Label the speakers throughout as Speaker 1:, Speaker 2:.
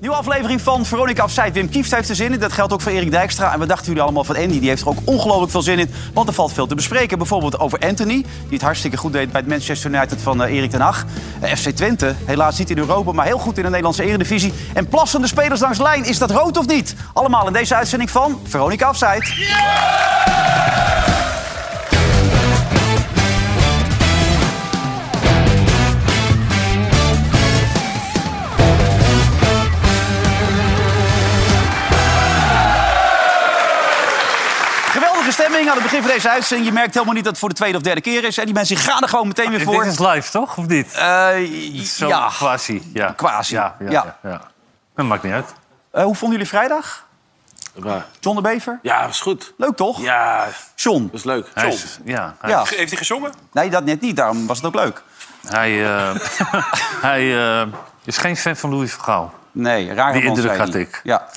Speaker 1: Nieuwe aflevering van Veronica Afzijd. Wim Kieft heeft er zin in. Dat geldt ook voor Erik Dijkstra. En we dachten jullie allemaal van Andy. Die heeft er ook ongelooflijk veel zin in. Want er valt veel te bespreken. Bijvoorbeeld over Anthony. Die het hartstikke goed deed bij het Manchester United van eh, Erik ten Hag. Eh, FC Twente. Helaas niet in Europa. Maar heel goed in de Nederlandse eredivisie. En plassende spelers langs lijn. Is dat rood of niet? Allemaal in deze uitzending van Veronica Afzijd. Geweldige stemming aan het begin van deze uitzending. Je merkt helemaal niet dat het voor de tweede of derde keer is. En die mensen gaan er gewoon meteen weer voor.
Speaker 2: Dit is live, toch? Of niet?
Speaker 1: Eh,
Speaker 2: Zo
Speaker 1: ja.
Speaker 2: quasi. Ja.
Speaker 1: Quasi,
Speaker 2: Ja, ja,
Speaker 1: ja.
Speaker 2: ja. ja. Dat maakt niet uit.
Speaker 1: Eh, hoe vonden jullie vrijdag?
Speaker 3: Maar-
Speaker 1: John de Bever?
Speaker 3: Ja, was goed.
Speaker 1: Leuk toch?
Speaker 3: Ja, dat
Speaker 1: John.
Speaker 3: is leuk.
Speaker 2: Hij
Speaker 3: John.
Speaker 2: is, ja, hij,
Speaker 1: Ja.
Speaker 4: Heeft hij gezongen?
Speaker 1: Nee, dat net niet. Daarom was het ook leuk.
Speaker 2: hij, eh, hij eh, is geen fan van Louis van Gaal.
Speaker 1: Nee, raar
Speaker 2: Die
Speaker 1: man,
Speaker 2: indruk
Speaker 1: zei
Speaker 2: had
Speaker 1: hij.
Speaker 2: ik.
Speaker 1: Ja.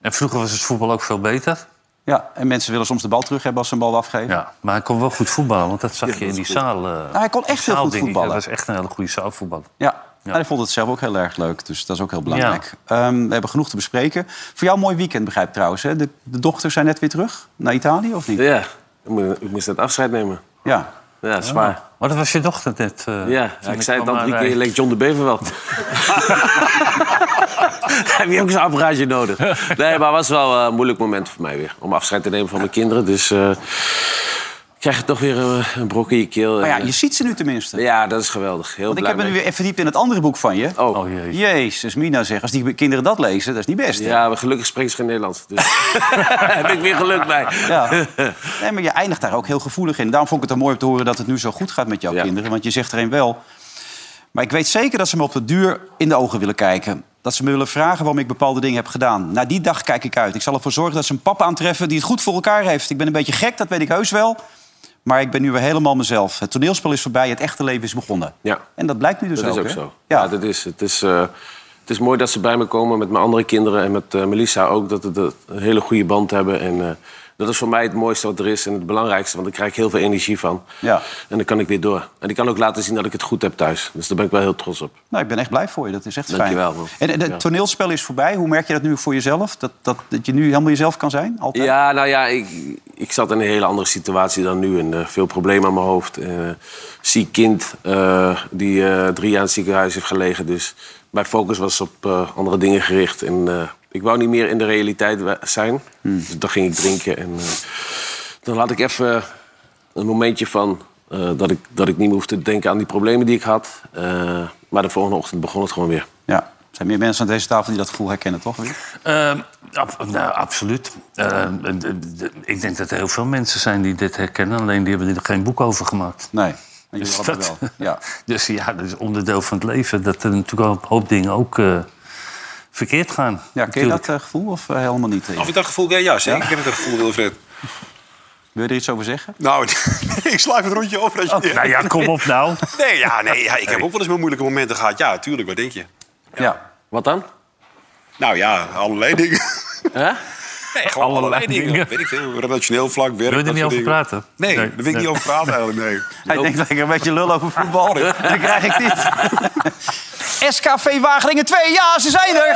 Speaker 2: En vroeger was het voetbal ook veel beter.
Speaker 1: ja, en mensen willen soms de bal terug hebben als ze een bal afgeven.
Speaker 2: Ja. Maar hij kon wel goed voetballen, want dat zag je in die zaal. eh,
Speaker 1: Nou, hij kon echt heel goed
Speaker 2: zaaldingen.
Speaker 1: voetballen.
Speaker 2: Hij was echt een hele goede zaalvoetballer.
Speaker 1: Ja. En hij vond het zelf ook heel erg leuk, dus dat is ook heel belangrijk. Ehm, we hebben genoeg te bespreken. Voor jou een mooi weekend, begrijp ik trouwens. Hè? De, de dochters zijn net weer terug naar Italië, of niet?
Speaker 3: Ja, ik moest, ik moest dat afscheid nemen.
Speaker 1: Ja.
Speaker 3: Ja, zwaar.
Speaker 2: Maar dat was je dochter net. eh,
Speaker 3: Ja,
Speaker 2: toen
Speaker 3: ik zei het al
Speaker 2: kwam eh,
Speaker 3: drie
Speaker 2: aanrijden.
Speaker 3: keer, leek John de Bever wel. Heb je ook zo'n apparaatje nodig? Nee, maar het was wel eh, een moeilijk moment voor mij weer. Om afscheid te nemen van mijn kinderen. Dus eh, ik krijg toch weer eh, een brok in je keel.
Speaker 1: Maar ja,
Speaker 3: En,
Speaker 1: je ziet ze nu tenminste.
Speaker 3: eh, ja, dat is geweldig. Heel
Speaker 1: Want ik
Speaker 3: blij
Speaker 1: heb me nu
Speaker 3: mee.
Speaker 1: weer even verdiept in het andere boek van je.
Speaker 3: Oh,
Speaker 2: Oh jee.
Speaker 1: Jezus, Mina zeg, als die kinderen dat lezen, dat is niet best. hè?
Speaker 3: ja, maar gelukkig spreekt ze geen Nederlands. Dus heb ik weer geluk bij.
Speaker 1: Ja. Nee, maar je eindigt daar ook heel gevoelig in. Daarom vond ik het er mooi om te horen dat het nu zo goed gaat met jouw
Speaker 3: Ja.
Speaker 1: kinderen. Want je zegt er een wel. Maar ik weet zeker dat ze me op de duur in de ogen willen kijken. Dat ze me willen vragen waarom ik bepaalde dingen heb gedaan. Na die dag kijk ik uit. Ik zal ervoor zorgen dat ze een papa aantreffen die het goed voor elkaar heeft. Ik ben een beetje gek, dat weet ik heus wel. Maar ik ben nu weer helemaal mezelf. Het toneelspel is voorbij, het echte leven is begonnen.
Speaker 3: Ja.
Speaker 1: En dat blijkt nu dus
Speaker 3: Dat
Speaker 1: ook.
Speaker 3: is ook
Speaker 1: hè?
Speaker 3: zo. Ja,
Speaker 1: Ja.
Speaker 3: dat is, het, is, eh, het is mooi dat ze bij me komen met mijn andere kinderen en met eh, Melissa ook. Dat we dat een hele goede band hebben. En eh, dat is voor mij het mooiste wat er is en het belangrijkste. Want daar krijg ik heel veel energie van.
Speaker 1: Ja.
Speaker 3: En dan kan ik weer door. En ik kan ook laten zien dat ik het goed heb thuis. Dus daar ben ik wel heel trots op.
Speaker 1: Nou, ik ben echt blij voor je. Dat is echt fijn.
Speaker 3: Dankjewel, man.
Speaker 1: En, en het
Speaker 3: Ja.
Speaker 1: toneelspel is voorbij. Hoe merk je dat nu voor jezelf? Dat, dat, dat je nu helemaal jezelf kan zijn? Altijd?
Speaker 3: Ja, nou ja, ik, ik zat in een hele andere situatie dan nu. En eh, veel problemen aan mijn hoofd. Eh, ziek kind eh, die eh, drie jaar in het ziekenhuis heeft gelegen. Dus mijn focus was op eh, andere dingen gericht. En eh, ik wou niet meer in de realiteit wa- zijn. Dus dan ging ik drinken. En eh, dan had ik even een momentje van... eh, dat, ik, dat ik niet meer hoefde te denken aan die problemen die ik had. Eh, maar de volgende ochtend begon het gewoon weer.
Speaker 1: Ja, er zijn meer mensen aan deze tafel die dat gevoel herkennen, toch? Weer?
Speaker 2: Ehm, ab- nou, absoluut. Ehm, d- d- d- ik denk dat er heel veel mensen zijn die dit herkennen. Alleen die hebben er geen boek over gemaakt.
Speaker 1: Nee. Maar jullie
Speaker 2: Dus
Speaker 1: hadden
Speaker 2: dat-
Speaker 1: wel. Ja.
Speaker 2: Dus ja, dat is onderdeel van het leven. Dat er natuurlijk ook een hoop dingen ook eh, verkeerd gaan.
Speaker 1: ja, ken je
Speaker 2: Natuurlijk.
Speaker 1: dat eh, gevoel of eh, helemaal niet? Erik?
Speaker 4: Of ik dat gevoel ja, ja, zeker. Ik heb het gevoel, Wilfred.
Speaker 1: Wil je er iets over zeggen?
Speaker 4: Nou, ik sla even het rondje over. Als je...
Speaker 2: Nou ja, kom op nou.
Speaker 4: Oh. Nee, ja, nee ja, ik heb ook wel eens mijn moeilijke momenten gehad. Ja, tuurlijk, wat denk je?
Speaker 1: Ja.
Speaker 3: Wat dan?
Speaker 4: Nou ja, allerlei dingen.
Speaker 3: Hè?
Speaker 4: Nee, gewoon allerlei,
Speaker 2: Allerlei
Speaker 4: dingen.
Speaker 2: dingen.
Speaker 4: Weet ik veel, relationeel vlak, werk.
Speaker 2: Wil je er
Speaker 4: dat
Speaker 2: niet
Speaker 4: soort
Speaker 2: over
Speaker 4: dingen.
Speaker 2: praten?
Speaker 4: Nee,
Speaker 2: Nee,
Speaker 4: daar wil ik
Speaker 2: nee.
Speaker 4: niet over praten eigenlijk, nee.
Speaker 1: Hij denkt lekker een beetje lul over voetbal. Dan krijg ik dit. SKV Wageningen 2. Ja, ze zijn er!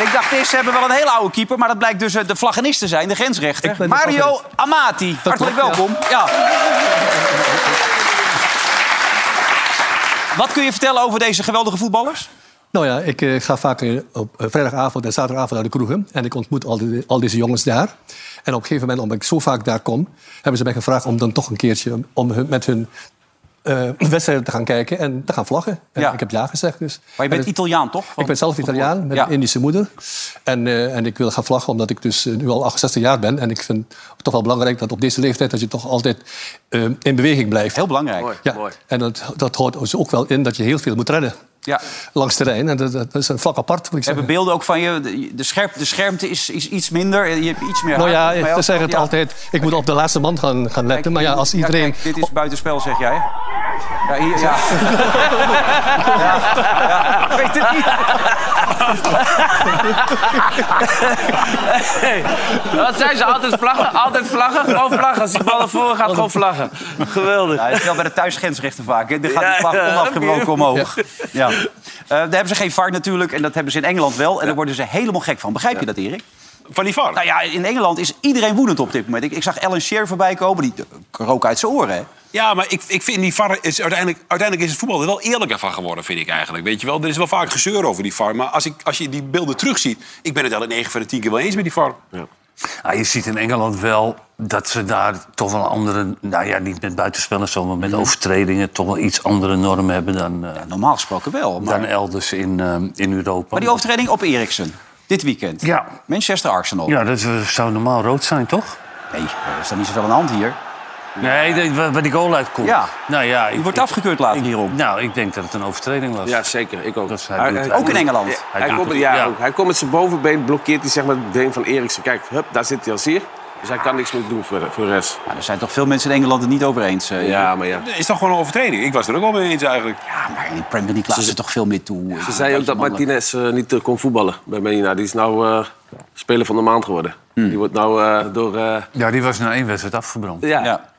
Speaker 1: En ik dacht eerst, ze hebben wel een hele oude keeper... maar dat blijkt dus eh, de vlaggenist te zijn, de grensrechter.
Speaker 5: Ik ben de
Speaker 1: Mario
Speaker 5: vlaggenist.
Speaker 1: Amati, hartelijk
Speaker 5: klopt, ja.
Speaker 1: welkom. Ja. Wat kun je vertellen over deze geweldige voetballers?
Speaker 5: Nou ja, ik eh, ga vaak eh, op eh, vrijdagavond en zaterdagavond naar de kroegen. En ik ontmoet al, die- al deze jongens daar. En op een gegeven moment, omdat ik zo vaak daar kom... hebben ze mij gevraagd om dan toch een keertje om hun, met hun eh, wedstrijden te gaan kijken en te gaan vlaggen. En
Speaker 1: Ja.
Speaker 5: ik heb ja gezegd. Dus.
Speaker 1: Maar je
Speaker 5: En
Speaker 1: bent
Speaker 5: het-
Speaker 1: Italiaan, toch?
Speaker 5: ik ben zelf Italiaan, met
Speaker 1: Ja.
Speaker 5: een Indische moeder. En, eh, en ik wil gaan vlaggen omdat ik dus eh, nu al 68 jaar ben. En ik vind het toch wel belangrijk dat op deze leeftijd... dat je toch altijd eh, in beweging blijft.
Speaker 1: Heel belangrijk.
Speaker 3: Mooi,
Speaker 5: Ja,
Speaker 3: mooi.
Speaker 5: en dat, dat houdt dus ook wel in dat je heel veel moet rennen.
Speaker 1: Ja.
Speaker 5: Langs terrein. En dat, dat is een vlak apart, moet ik
Speaker 1: We hebben
Speaker 5: zeggen.
Speaker 1: beelden ook van je. De- De, scherp, de schermte is, is iets minder. Je hebt iets meer
Speaker 5: Nou
Speaker 1: haar,
Speaker 5: ja,
Speaker 1: volgens mij
Speaker 5: ze
Speaker 1: ook.
Speaker 5: zeggen het
Speaker 1: Ja.
Speaker 5: altijd. Ik moet op de laatste man gaan, gaan letten. Maar ja, als iedereen...
Speaker 1: kijk, dit is buitenspel, zeg jij. Ja, hier, ja. ja, ja. Ik weet het niet.
Speaker 6: Dat zijn ze altijd vlaggen, altijd vlaggen, gewoon vlaggen. Als die bal naar voren gaat, gewoon vlaggen. Geweldig.
Speaker 1: Ja, dat geldt bij de thuisgrensrechten vaak. Hè. Dan gaat
Speaker 6: Ja,
Speaker 1: die vlag
Speaker 6: ja.
Speaker 1: onafgebroken omhoog. Ja. Eh, daar hebben ze geen VAR natuurlijk. En dat hebben ze in Engeland wel. En daar worden ze helemaal gek van. Begrijp je dat, Erik?
Speaker 4: Van die VAR.
Speaker 1: Nou ja, in Engeland is iedereen woedend op dit moment. Ik, ik zag Alan Shearer voorbij komen. Die eh, rook uit zijn oren, hè?
Speaker 4: Ja, maar ik, ik vind die VAR... Is uiteindelijk, uiteindelijk is het voetbal er wel eerlijker van geworden, vind ik eigenlijk. Weet je wel, er is wel vaak gezeur over die VAR. Maar als, ik, als je die beelden terugziet... Ik ben het wel in 9 van de 10 keer wel eens met die VAR.
Speaker 2: Ah, je ziet in Engeland wel dat ze daar toch wel andere... Nou ja, niet met buitenspel en zo, maar
Speaker 1: Hmm.
Speaker 2: met overtredingen... toch wel iets andere normen hebben dan, eh,
Speaker 1: Normaal gesproken wel. Maar,
Speaker 2: dan elders in, eh, in Europa.
Speaker 1: maar die overtreding op Eriksen. Dit weekend.
Speaker 2: Ja.
Speaker 1: Manchester Arsenal.
Speaker 2: Ja, dat eh, zou normaal rood zijn, toch?
Speaker 1: Nee, er is dan niet zoveel aan de hand hier.
Speaker 2: Nee, dat- waar waar die goal uitkomt.
Speaker 1: Ja.
Speaker 2: Nou ja,
Speaker 1: Die
Speaker 2: ik,
Speaker 1: wordt afgekeurd later hierop.
Speaker 2: nou, ik denk dat het een overtreding was.
Speaker 3: Ja, zeker. Ik ook.
Speaker 2: Dat is- hij doet het.
Speaker 1: Ook in Engeland.
Speaker 3: Hij,
Speaker 2: doet
Speaker 3: komt,
Speaker 2: het.
Speaker 3: ja,
Speaker 2: Ja.
Speaker 3: ook. hij komt met zijn bovenbeen, blokkeert hij zeg maar, het been van Eriksen. Kijk, hup, daar zit hij al zeer. Dus hij kan niks meer doen voor de, voor de rest.
Speaker 1: Maar er zijn toch veel mensen in Engeland het niet over eens. eh,
Speaker 3: Ja, maar ja.
Speaker 4: Dat is toch gewoon een overtreding? Ik was er ook al mee eens eigenlijk.
Speaker 1: Ja, maar in de Premier League laten ze toch veel meer toe.
Speaker 3: Ze zei ook dat Martinez eh, niet eh, kon voetballen bij Medina. Die is nou eh, speler van de maand geworden.
Speaker 2: Hmm.
Speaker 3: Die wordt nou eh, door... eh,
Speaker 2: Ja, die was na één wedstrijd afgebrand.
Speaker 3: ja.
Speaker 1: Ja.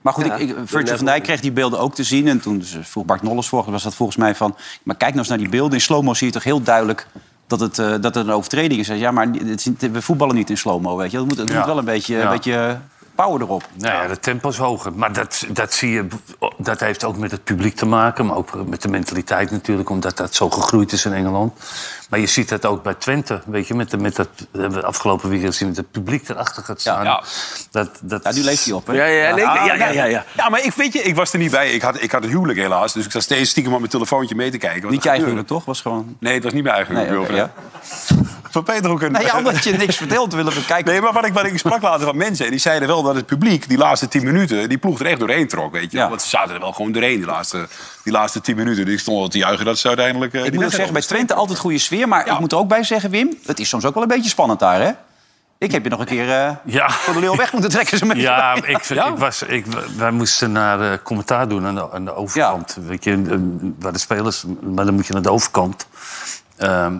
Speaker 1: Maar goed,
Speaker 3: Ja.
Speaker 1: ik, ik, Virgil van Dijk kreeg die beelden ook te zien. En toen ze- vroeg Bart Nolles volgens was dat volgens mij van... Maar kijk nou eens naar die beelden. In slow-mo zie je toch heel duidelijk dat het, eh, dat het een overtreding is. Hij zei, Ja, maar het is niet- we voetballen niet in slow-mo, weet je. Dat moet, het
Speaker 2: Ja.
Speaker 1: moet wel een beetje,
Speaker 2: Ja.
Speaker 1: een beetje power erop.
Speaker 2: Nou ja, de tempo is hoger. Maar dat, dat zie je, dat heeft ook met het publiek te maken. Maar ook met de mentaliteit natuurlijk, omdat dat zo gegroeid is in Engeland. Maar je ziet dat ook bij Twente, weet je. Met, de, met dat we hebben afgelopen weekend zien we dat het publiek erachter gaat staan.
Speaker 1: Ja.
Speaker 2: Dat, dat,
Speaker 1: Ja, nu leeft hij op, hè?
Speaker 3: Ja, ja, nee,
Speaker 4: Ah,
Speaker 3: ja, ja,
Speaker 4: nee.
Speaker 3: ja, ja.
Speaker 4: Ja, maar ik weet je, ik was er niet bij. Ik had, ik had het huwelijk helaas. Dus ik zat steeds stiekem op mijn telefoontje mee te kijken. Wat
Speaker 1: Niet
Speaker 4: er
Speaker 1: jij
Speaker 4: gebeurde.
Speaker 1: eigenlijk, toch? Was gewoon...
Speaker 4: Nee, het was niet mijn eigen
Speaker 1: Nee,
Speaker 4: huwelijk.
Speaker 1: oké, ja.
Speaker 4: Wilfred. Van Peter ook een...
Speaker 1: Nou ja, omdat je niks vertelt, willen we kijken.
Speaker 4: Nee, maar wat ik, wat ik sprak later van mensen... en die zeiden wel dat het publiek die laatste tien minuten... die ploeg er echt doorheen trok, weet je.
Speaker 1: Ja.
Speaker 4: wel. Want ze zaten er wel gewoon doorheen, die laatste, die laatste tien minuten. Die stonden al te juichen dat ze uiteindelijk... eh,
Speaker 1: Ik
Speaker 4: die
Speaker 1: moet ook
Speaker 4: wedstrijd
Speaker 1: zeggen, bij Twente altijd goede sfeer. Maar
Speaker 4: Ja.
Speaker 1: ik moet er ook bij zeggen, Wim, het is soms ook wel een beetje spannend daar, hè? Ik heb je nog een keer eh
Speaker 2: Ja.
Speaker 1: voor de leeuw weg moeten trekken. Zo
Speaker 2: Ja, ik, Ik was, ik, wij moesten naar eh, commentaar doen aan de, aan de overkant. Weet je, eh, waar de spelers, maar dan moet je naar de overkant. Ehm,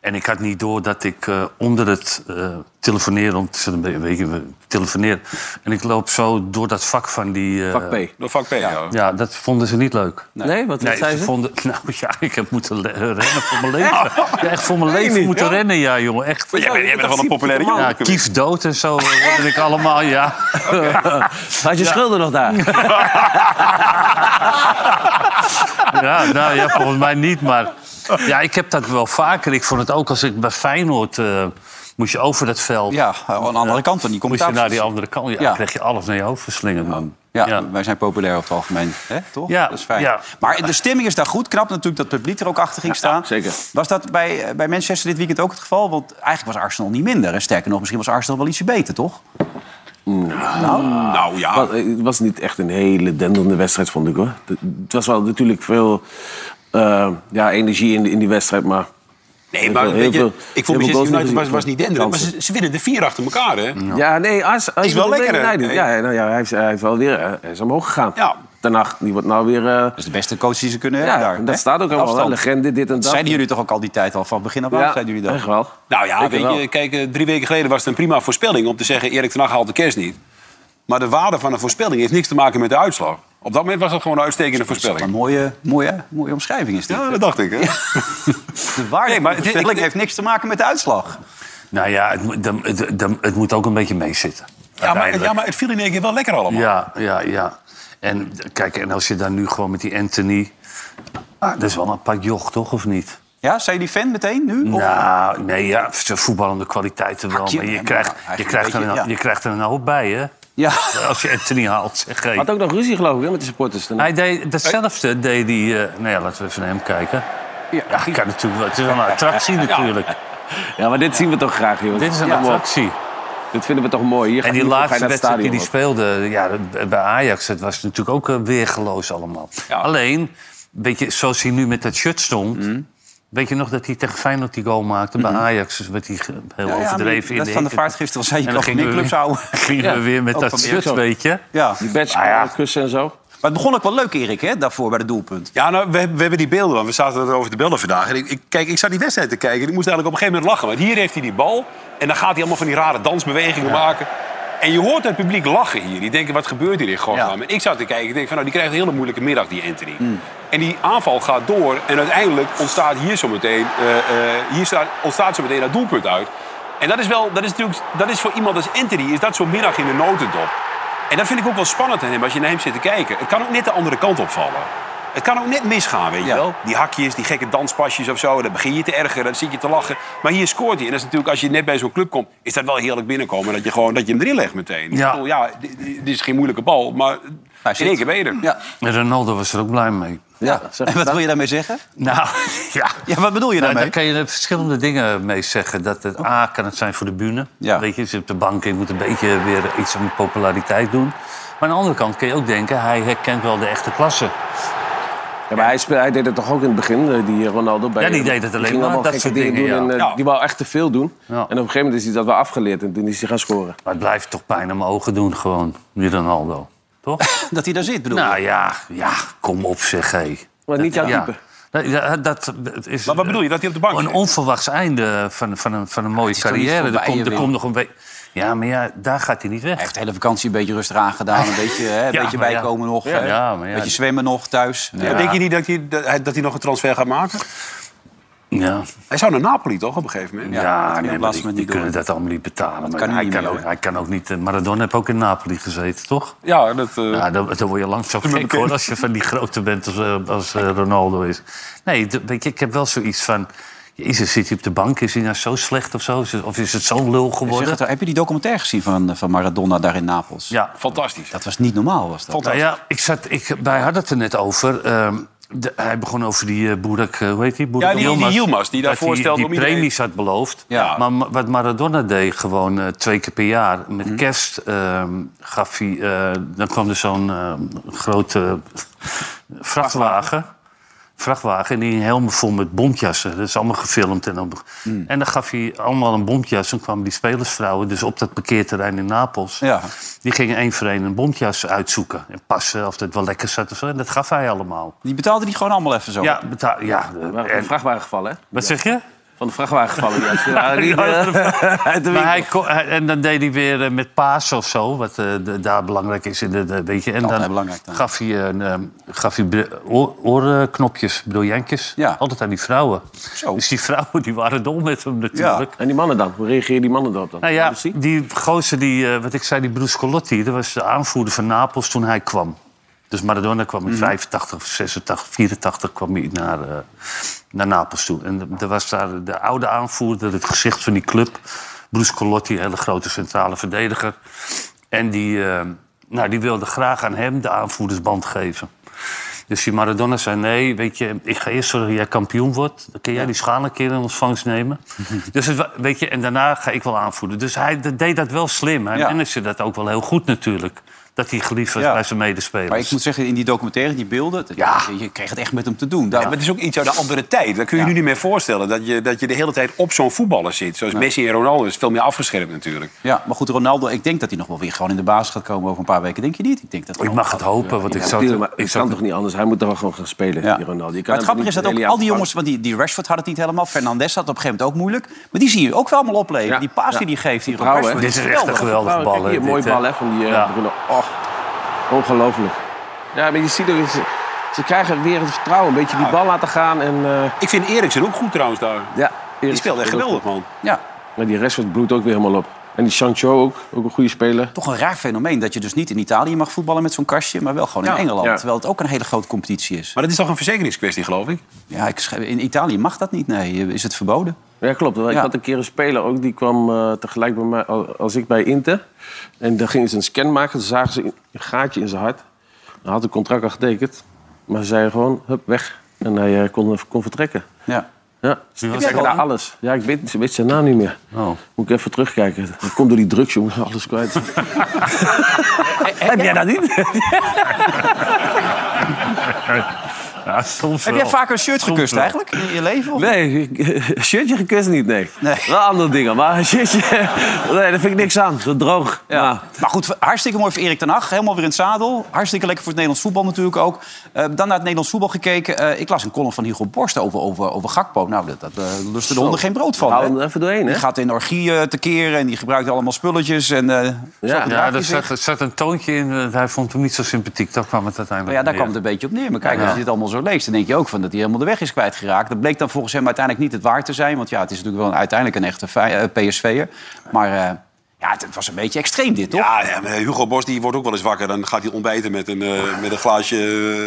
Speaker 2: en ik had niet door dat ik eh, onder het eh, telefoneren, om te zitten, een beetje we telefoneren. En ik loop zo door dat vak van die. eh,
Speaker 3: Pak P.
Speaker 4: door vak P, ja.
Speaker 2: Ja, dat vonden ze niet leuk.
Speaker 3: Nee, wat
Speaker 2: Nee,
Speaker 3: zei
Speaker 2: ze
Speaker 3: ze?
Speaker 2: vonden. Nou ja, ik heb moeten le- rennen voor mijn leven. Ja, echt voor mijn leven moeten rennen, ja, jongen. Echt.
Speaker 4: Jij bent, jij bent wel een populaire jongen.
Speaker 2: Ja, kief dood en zo eh, hoorde ik allemaal, ja.
Speaker 6: Had je schulden nog daar?
Speaker 2: Ja, nou ja, volgens mij niet. Maar ja, ik heb dat wel vaker. Ik vond het ook als ik bij Feyenoord eh, moest je over dat veld.
Speaker 1: Ja, aan de andere kant van die
Speaker 2: moest je
Speaker 1: commentaar.
Speaker 2: naar die andere kant. Ja,
Speaker 1: Ja.
Speaker 2: kreeg je alles naar je hoofd verslingerd, man.
Speaker 1: Ja,
Speaker 2: Ja.
Speaker 1: wij zijn populair op het algemeen, hè? toch?
Speaker 2: Ja,
Speaker 1: dat is fijn.
Speaker 2: ja.
Speaker 1: Maar de stemming is daar goed. Knap natuurlijk dat het publiek er ook achter ging staan.
Speaker 3: zeker.
Speaker 1: Was dat bij, eh, bij Manchester dit weekend ook het geval? Want eigenlijk was Arsenal niet minder. En sterker nog, misschien was Arsenal wel ietsje beter, toch?
Speaker 4: Nou ja,
Speaker 3: Wat- eh, Het was niet echt een hele denderende wedstrijd, vond ik hoor. Het het was wel natuurlijk veel eh, ja, energie in, in die wedstrijd, maar...
Speaker 4: nee, maar
Speaker 3: Heel
Speaker 4: weet je,
Speaker 3: veel-
Speaker 4: ik
Speaker 3: heel
Speaker 4: vond
Speaker 3: veel goals
Speaker 4: Manchester United
Speaker 3: gezien.
Speaker 4: was, was niet denderend. Maar ze, ze winnen de vier achter elkaar, hè.
Speaker 2: Nou.
Speaker 3: Ja, nee, Ars, Ars
Speaker 4: Is wel lekker, hè?
Speaker 3: Ja, ja, nou ja, hij is, hij is wel weer eh, hij is omhoog gegaan.
Speaker 4: Ja.
Speaker 3: Daarna, die wordt nou weer... eh,
Speaker 1: Dat is de beste coach die ze kunnen
Speaker 3: ja,
Speaker 1: hebben daar.
Speaker 3: dat
Speaker 1: hè?
Speaker 3: staat ook allemaal, hè.
Speaker 1: Afstand.
Speaker 3: legende, dit en dat.
Speaker 1: Zeiden jullie toch ook al die tijd al? Van begin af aan
Speaker 3: ja,
Speaker 1: zeiden jullie dat?
Speaker 3: echt wel.
Speaker 4: Nou ja,
Speaker 3: Zeker
Speaker 4: weet
Speaker 3: wel.
Speaker 4: je, kijk, eh, drie weken geleden was het een prima voorspelling om te zeggen... Erik ten Hag haalt de kerst niet. Maar de waarde van een voorspelling heeft niks te maken met de uitslag. Op dat moment was dat gewoon een uitstekende
Speaker 1: Wat een
Speaker 4: voorspelling.
Speaker 1: mooie, mooie, mooie omschrijving is dit.
Speaker 4: Ja, dat dacht ik, hè?
Speaker 1: De waarde
Speaker 4: Nee, maar
Speaker 1: van de
Speaker 4: dit-
Speaker 1: stelling
Speaker 4: ik-
Speaker 1: heeft niks te maken met de uitslag.
Speaker 2: Nou ja, het, moet- dan- het, dan- het moet ook een beetje meezitten.
Speaker 4: Ja maar,
Speaker 2: uiteindelijk.
Speaker 4: ja, maar het viel in één keer wel lekker allemaal.
Speaker 2: Ja, ja, ja. En kijk, en als je dan nu gewoon met die Anthony... Ah, dat is wel een apart joch, toch, of niet?
Speaker 1: Ja, zijn jullie fan meteen nu? Of-
Speaker 2: Nou, nee, ja, zijn voetballende kwaliteiten wel.
Speaker 1: Hakje,
Speaker 2: Maar
Speaker 1: ja,
Speaker 2: je
Speaker 1: maar
Speaker 2: krijgt, je
Speaker 1: eigenlijk
Speaker 2: krijgt,
Speaker 1: een
Speaker 2: er, een,
Speaker 1: beetje, ja.
Speaker 2: je krijgt er een hoop bij, hè?
Speaker 1: Ja.
Speaker 2: Als je Anthony haalt, zeg hey.
Speaker 3: Had ook nog ruzie, geloof ik, hè, met de supporters.
Speaker 2: Hij deed datzelfde, deed hij... eh, nou ja, laten we even naar hem kijken. Ja, ik kan natuurlijk wel. Het is wel een attractie natuurlijk.
Speaker 3: Ja, maar dit zien we toch graag, jongens.
Speaker 2: Dit is een
Speaker 3: Ja, man.
Speaker 2: attractie.
Speaker 3: Dit vinden we toch mooi. Hier
Speaker 2: En die laatste wedstrijd die hij
Speaker 3: speelt.
Speaker 2: speelde ja, bij Ajax, dat was natuurlijk ook eh, weergeloos allemaal. Alleen, weet je, zoals hij nu met dat shirt stond...
Speaker 1: Mhm.
Speaker 2: Weet je nog dat hij tegen Feyenoord die goal maakte bij Ajax? Dus werd hij ge- heel
Speaker 1: Ja, ja,
Speaker 2: overdreven
Speaker 1: maar dat
Speaker 2: in
Speaker 1: van de
Speaker 2: hikken.
Speaker 1: vaart gisteren al zei, je
Speaker 2: En dan
Speaker 1: kan geen
Speaker 2: gingen we
Speaker 1: clubs houden.
Speaker 2: weer- Gingen we weer met
Speaker 1: ook
Speaker 2: dat
Speaker 1: van
Speaker 2: shirt,
Speaker 1: Ajax ook.
Speaker 2: weet je.
Speaker 1: Ja.
Speaker 3: Die badge,
Speaker 2: Ah, ja.
Speaker 3: eh, kussen en zo.
Speaker 1: Maar het begon ook wel leuk, Erik, hè, daarvoor bij het doelpunt.
Speaker 4: Ja, nou, we, we hebben die beelden, want we zaten over de beelden vandaag. En ik, ik- kijk, ik zat die wedstrijd te kijken en ik moest eigenlijk op een gegeven moment lachen. Want hier heeft hij die bal en dan gaat hij allemaal van die rare dansbewegingen maken. En je hoort het publiek lachen hier. Die denken, wat gebeurt hier in godsnaam?
Speaker 1: Ja.
Speaker 4: En ik zat te kijken, ik denk van, nou, die krijgt een hele moeilijke middag, die Anthony. En die aanval gaat door en uiteindelijk ontstaat hier zometeen eh eh, hier staat, ontstaat zometeen dat doelpunt uit. En dat is wel, dat is natuurlijk, dat is voor iemand als Anthony, is dat zo'n middag in de notendop. En dat vind ik ook wel spannend aan hem als je naar hem zit te kijken. Het kan ook net de andere kant opvallen. Het kan ook net misgaan, weet je
Speaker 1: Ja.
Speaker 4: wel. Die hakjes, die gekke danspasjes of zo. Dan begin je te ergeren, dan zit je te lachen. Maar hier scoort hij. En dat is natuurlijk, als je net bij zo'n club komt... is dat wel heerlijk binnenkomen. Dat je, gewoon, dat je hem erin legt meteen.
Speaker 2: Ja.
Speaker 4: Ik bedoel, ja, dit, dit is geen moeilijke bal, maar in
Speaker 1: zit.
Speaker 4: één keer ben je er.
Speaker 1: Ja,
Speaker 2: En Ronaldo was er ook blij mee.
Speaker 1: ja.
Speaker 3: zeg
Speaker 1: en wat
Speaker 3: dat.
Speaker 1: wil je daarmee zeggen?
Speaker 2: Nou, ja.
Speaker 1: Ja, wat bedoel je
Speaker 2: Nou,
Speaker 1: daarmee?
Speaker 2: daar kan je er verschillende dingen mee zeggen. Dat het, A, kan het zijn voor de bühne.
Speaker 1: Ja.
Speaker 2: Weet je, je zit op de bank en je moet een beetje weer iets aan populariteit doen. Maar aan de andere kant kun je ook denken, hij herkent wel de echte klasse.
Speaker 3: Ja, maar hij, speel- hij deed het toch ook in het begin, eh, die Ronaldo? Bij,
Speaker 2: Ja, die deed het alleen
Speaker 3: ging
Speaker 2: maar,
Speaker 3: allemaal
Speaker 2: dat
Speaker 3: gekke
Speaker 2: soort
Speaker 3: dingen
Speaker 2: dingen,
Speaker 3: doen.
Speaker 2: ja.
Speaker 3: En, eh,
Speaker 4: Ja.
Speaker 3: Die wou echt te veel doen.
Speaker 2: Ja.
Speaker 3: En op een gegeven moment is hij dat wel afgeleerd. En toen is hij gaan scoren.
Speaker 2: Maar het blijft toch pijn aan mijn ogen doen, gewoon, die Ronaldo. Toch?
Speaker 1: Dat hij daar zit, bedoel
Speaker 2: nou
Speaker 1: je?
Speaker 2: ja, ja, kom op zeg, hé.
Speaker 3: Maar niet jouw
Speaker 2: ja.
Speaker 3: type.
Speaker 2: Dat, ja, dat is
Speaker 4: Maar wat bedoel je, dat hij op de bank
Speaker 2: een
Speaker 4: zit?
Speaker 2: onverwachts einde van, van, een, van een mooie
Speaker 1: is toch niet
Speaker 2: carrière. Er
Speaker 1: voorbij,
Speaker 2: komt, er
Speaker 1: Wim?
Speaker 2: komt nog een beetje... Ja, maar ja, daar gaat hij niet weg.
Speaker 1: Hij heeft de hele vakantie een beetje rustig aangedaan. Een beetje, hè, een
Speaker 2: Ja,
Speaker 1: beetje
Speaker 2: maar ja.
Speaker 1: bijkomen nog.
Speaker 2: Ja,
Speaker 1: hè.
Speaker 2: ja, maar ja.
Speaker 1: Beetje zwemmen nog thuis. Ja.
Speaker 4: Maar Denk je niet dat hij, dat, hij, dat hij nog een transfer gaat maken?
Speaker 2: Ja.
Speaker 4: Hij zou naar Napoli toch op een gegeven moment?
Speaker 2: Ja,
Speaker 1: dat kan
Speaker 2: nee,
Speaker 1: op
Speaker 2: maar
Speaker 1: last
Speaker 2: die,
Speaker 1: moment
Speaker 2: die
Speaker 1: niet
Speaker 2: kunnen
Speaker 1: door.
Speaker 2: dat allemaal niet betalen. Maar
Speaker 1: kan
Speaker 2: hij,
Speaker 1: niet
Speaker 2: kan
Speaker 1: meer,
Speaker 2: ook,
Speaker 1: hè?
Speaker 2: hij kan ook niet... eh, Maradona heeft ook in Napoli gezeten, toch?
Speaker 4: Ja, dat, eh,
Speaker 2: Ja, dan, dan word je langzaam gek, hoor, als je van die grote bent als, eh, als eh, Ronaldo is. Nee, d- weet je, ik heb wel zoiets van... Jezus, zit hij op de bank? Is hij nou zo slecht of zo? Is het- Of is het zo'n lul
Speaker 1: Zeg
Speaker 2: geworden?
Speaker 1: het, heb je die documentaire gezien van, van Maradona daar in Napels?
Speaker 2: Ja,
Speaker 4: fantastisch.
Speaker 1: Dat was niet normaal, was dat?
Speaker 2: Nou ja, ik zat, ik, wij hadden het er net over. Ehm, de- hij begon over die eh, Boerak, eh, hoe heet die? Boerak
Speaker 4: Ja, die- die
Speaker 2: Yilmaz.
Speaker 4: Yilmaz, die
Speaker 2: Dat
Speaker 4: daarvoor stelde
Speaker 2: die
Speaker 4: om iedereen-
Speaker 2: premies had beloofd.
Speaker 4: Ja.
Speaker 2: Maar ma- wat Maradona deed, gewoon eh, twee keer per jaar. Met
Speaker 4: Mhm.
Speaker 2: kerst ehm, gaf hij... eh, dan kwam er zo'n ehm, grote vrachtwagen. Vrachtwagen en die hing helemaal vol met bontjassen. Dat is allemaal gefilmd. En dan, en dan gaf hij allemaal een bontjas. En kwamen die spelersvrouwen dus op dat parkeerterrein in Napels.
Speaker 1: Ja.
Speaker 2: Die gingen één voor één een bontjas uitzoeken. En passen of dat wel lekker zat of zo. En dat gaf hij allemaal.
Speaker 1: Die betaalde die gewoon allemaal even zo.
Speaker 2: Ja, betaal, ja.
Speaker 3: Maar Van de
Speaker 2: En,
Speaker 3: vrachtwagen gevallen, hè?
Speaker 2: wat zeg je?
Speaker 3: Van de vrachtwagen gevallen. die had- die waren niet, eh, uit de
Speaker 2: Maar
Speaker 3: winkel.
Speaker 2: hij ko- hij- en dan deed hij weer eh, met paas of zo, wat eh, de- daar belangrijk is. In de, de- weet je. En
Speaker 1: Altijd
Speaker 2: dan
Speaker 1: belangrijk dan.
Speaker 2: gaf hij, een, ehm, gaf hij br- oor- oorknopjes, briljantjes.
Speaker 1: Ja.
Speaker 2: Altijd aan die vrouwen.
Speaker 1: Zo.
Speaker 2: Dus die vrouwen die waren dol met hem natuurlijk.
Speaker 3: En die mannen dan? Hoe reageren die mannen daarop dan?
Speaker 2: Nou
Speaker 3: Laat
Speaker 2: ja,
Speaker 3: eens zien.
Speaker 2: die gozer, die, eh, wat ik zei, die Bruce Colotti... dat was de aanvoerder van Napels toen hij kwam. Dus Maradona kwam in 85, 86, 84 kwam hij naar, eh, naar Napels toe. En er was daar de oude aanvoerder, het gezicht van die club. Bruce Colotti, een hele grote centrale verdediger. En die, eh, nou, die wilde graag aan hem de aanvoerdersband geven. Dus die Maradona zei, nee, weet je, ik ga eerst zorgen dat jij kampioen wordt. Dan kun jij die schaal een keer in ontvangst nemen. dus het, wa- weet je, en daarna ga ik wel aanvoeren. Dus hij d- deed dat wel slim. Hij
Speaker 1: Ja.
Speaker 2: managde dat ook wel heel goed natuurlijk. Dat hij geliefd was
Speaker 1: Ja.
Speaker 2: bij zijn medespelers.
Speaker 1: Maar ik moet zeggen, in die documentaire, die beelden... dat-
Speaker 2: Ja.
Speaker 1: Je, je kreeg het echt met hem te doen. Daar,
Speaker 4: Ja, maar het is ook iets uit een andere tijd. Dat kun je
Speaker 1: Ja.
Speaker 4: je nu niet meer voorstellen. Dat je, dat je de hele tijd op zo'n voetballer zit. Zoals Messi en Ronaldo is veel meer afgeschermd natuurlijk.
Speaker 1: Ja, maar goed, Ronaldo, ik denk dat hij nog wel weer gewoon in de baas gaat komen over een paar weken. Denk je niet? Ik denk dat
Speaker 2: Ik mag het hopen, want ik
Speaker 3: Ja,
Speaker 2: zou...
Speaker 3: tuurlijk,
Speaker 2: het-
Speaker 3: maar
Speaker 2: ik
Speaker 3: het
Speaker 2: zou
Speaker 3: kan
Speaker 2: het-
Speaker 3: toch niet anders? Hij moet toch wel gewoon gaan spelen,
Speaker 1: Ja.
Speaker 3: die Ronaldo. Je kan
Speaker 1: Maar het
Speaker 3: hem
Speaker 1: grappige
Speaker 3: niet
Speaker 1: is dat ook
Speaker 3: really
Speaker 1: al die
Speaker 3: afvangen.
Speaker 1: jongens, want die, die Rashford had het niet helemaal, Fernandes had het op een gegeven moment ook moeilijk, maar die zie je ook wel allemaal opleven.
Speaker 3: Ja.
Speaker 1: Die paas die
Speaker 3: Ja.
Speaker 1: die geeft hier op
Speaker 3: Vertrouwen,
Speaker 1: Rashford,
Speaker 2: Dit is echt een
Speaker 1: geweldig.
Speaker 2: geweldige
Speaker 3: Nou,
Speaker 2: bal.
Speaker 3: kijk hier,
Speaker 2: hè,
Speaker 3: mooie
Speaker 2: dit, hè.
Speaker 3: bal hè, van die eh
Speaker 2: Ja.
Speaker 3: Bruno. Oh, ongelooflijk. Ja, maar je ziet ook, ze, ze krijgen weer het vertrouwen. Een beetje die bal laten gaan. En, eh,
Speaker 4: Ik vind Eriksen ook goed trouwens daar.
Speaker 3: ja,
Speaker 4: Die speelt echt geweldig, man.
Speaker 1: Ja,
Speaker 3: Maar die rest van het bloed ook weer helemaal op. En die Sancho ook, ook een goede speler.
Speaker 1: toch een raar fenomeen dat je dus niet in Italië mag voetballen met zo'n kastje, maar wel gewoon in
Speaker 4: Ja.
Speaker 1: Engeland,
Speaker 3: Ja.
Speaker 1: terwijl het ook een hele grote competitie is.
Speaker 4: Maar dat is toch een verzekeringskwestie, geloof ik?
Speaker 1: Ja, ik, schrijf- in Italië mag dat niet, nee, is het verboden?
Speaker 3: Ja, klopt. Ik
Speaker 1: Ja.
Speaker 3: had een keer een speler ook, die kwam eh, tegelijk bij mij al- als ik bij Inter. En daar gingen ze een scan maken, toen zagen ze een gaatje in zijn hart. Hij had een contract al getekend, maar ze zeiden gewoon, hup, weg. En hij eh, kon, kon vertrekken.
Speaker 1: Ja.
Speaker 3: Ja,
Speaker 2: Wie was
Speaker 3: ze
Speaker 1: dat?
Speaker 3: daar alles. Ja, ik weet, ik weet zijn naam niet meer.
Speaker 2: Oh.
Speaker 3: Moet ik even terugkijken. Dat komt door die drugs, jongen. Alles kwijt.
Speaker 1: Heb jij dat niet?
Speaker 2: Ja, soms
Speaker 1: Heb
Speaker 2: wel.
Speaker 1: jij vaker een shirt
Speaker 2: Oh. Soms
Speaker 1: gekust
Speaker 2: wel.
Speaker 1: eigenlijk in je leven? Of?
Speaker 3: Nee, shirtje gekust niet, nee.
Speaker 1: Nee.
Speaker 3: Wel andere dingen, maar een shirtje... Nee, daar vind ik niks aan. Dat droog.
Speaker 1: Ja.
Speaker 3: Maar-
Speaker 1: Maar goed, hartstikke mooi voor Erik ten Hag. Helemaal weer in het zadel. Hartstikke lekker voor het Nederlands voetbal natuurlijk ook. Eh, dan naar het Nederlands voetbal gekeken. Eh, ik las een column van Hugo Borst over, over, over Gakpo. Nou, dat, dat eh, lustte de honden geen brood van.
Speaker 3: Hou
Speaker 1: hè?
Speaker 3: hem er even doorheen, hè?
Speaker 1: Die gaat in orgieën tekeren en die gebruikt allemaal spulletjes. En, eh,
Speaker 3: Ja,
Speaker 1: zulke
Speaker 2: Ja,
Speaker 1: draadjes
Speaker 2: er
Speaker 1: in.
Speaker 2: zat, er zat een toontje in. eh, Hij vond hem niet zo sympathiek. Daar kwam het
Speaker 1: Maar
Speaker 2: uiteindelijk
Speaker 1: ja, daar
Speaker 2: neer.
Speaker 1: kwam het een beetje op neer. Maar kijk, als je dit allemaal zo leest, dan denk je ook van dat hij helemaal de weg is kwijtgeraakt. Dat bleek dan volgens hem uiteindelijk niet het waar te zijn. Want ja, het is natuurlijk wel een, uiteindelijk een echte fi- eh, PSV'er. Maar eh, ja, het, het was een beetje extreem dit, toch?
Speaker 4: Ja, ja, maar Hugo Bos die wordt ook wel eens wakker. Dan gaat hij ontbijten met een, eh, met een glaasje,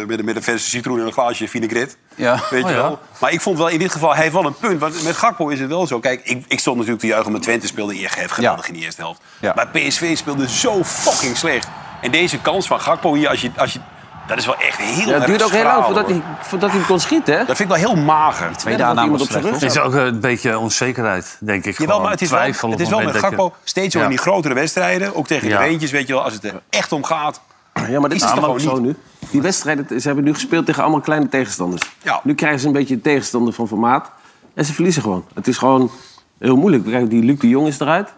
Speaker 4: eh, met een, met een verse citroen en een glaasje vinaigrette.
Speaker 1: Ja.
Speaker 4: Weet
Speaker 2: Oh,
Speaker 4: je
Speaker 2: ja.
Speaker 4: wel. Maar ik vond wel in dit geval, hij heeft wel een punt. Want met Gakpo is het wel zo. Kijk, ik, ik stond natuurlijk te juichen omdat Twente speelde in GF geweldig in de eerste helft.
Speaker 1: Ja.
Speaker 4: Maar PSV speelde zo fucking slecht. En deze kans van Gakpo hier, als je, als je, dat is wel echt heel
Speaker 3: Ja, het
Speaker 4: erg
Speaker 3: duurt ook heel
Speaker 4: schraal,
Speaker 3: lang voordat
Speaker 4: hoor.
Speaker 3: hij, voordat hij hem kon schieten, hè?
Speaker 4: Dat vind ik wel heel mager.
Speaker 1: Twee
Speaker 3: Ja, dat
Speaker 1: daarna
Speaker 3: iemand
Speaker 1: was
Speaker 3: op zijn
Speaker 1: slecht,
Speaker 2: Het is ook eh, een beetje onzekerheid, denk ik.
Speaker 4: Jawel,
Speaker 2: Gewoon
Speaker 4: maar het is wel,
Speaker 2: twijfel op
Speaker 4: het is wel met
Speaker 2: moment dat je-
Speaker 4: Gakpo steeds zo
Speaker 2: Ja.
Speaker 4: in die grotere wedstrijden. Ook tegen
Speaker 2: Ja.
Speaker 4: de Reentjes, weet je wel. Als het er echt om gaat.
Speaker 3: Ja, maar dit
Speaker 4: Is
Speaker 3: is
Speaker 4: het
Speaker 3: toch ook
Speaker 4: toch
Speaker 3: zo
Speaker 4: gewoon
Speaker 3: nu? Die wedstrijden, ze hebben nu gespeeld tegen allemaal kleine tegenstanders.
Speaker 4: Ja.
Speaker 3: Nu krijgen ze een beetje tegenstander van formaat. En ze verliezen gewoon. Het is gewoon heel moeilijk. Kijk, die Luc de Jong is eruit.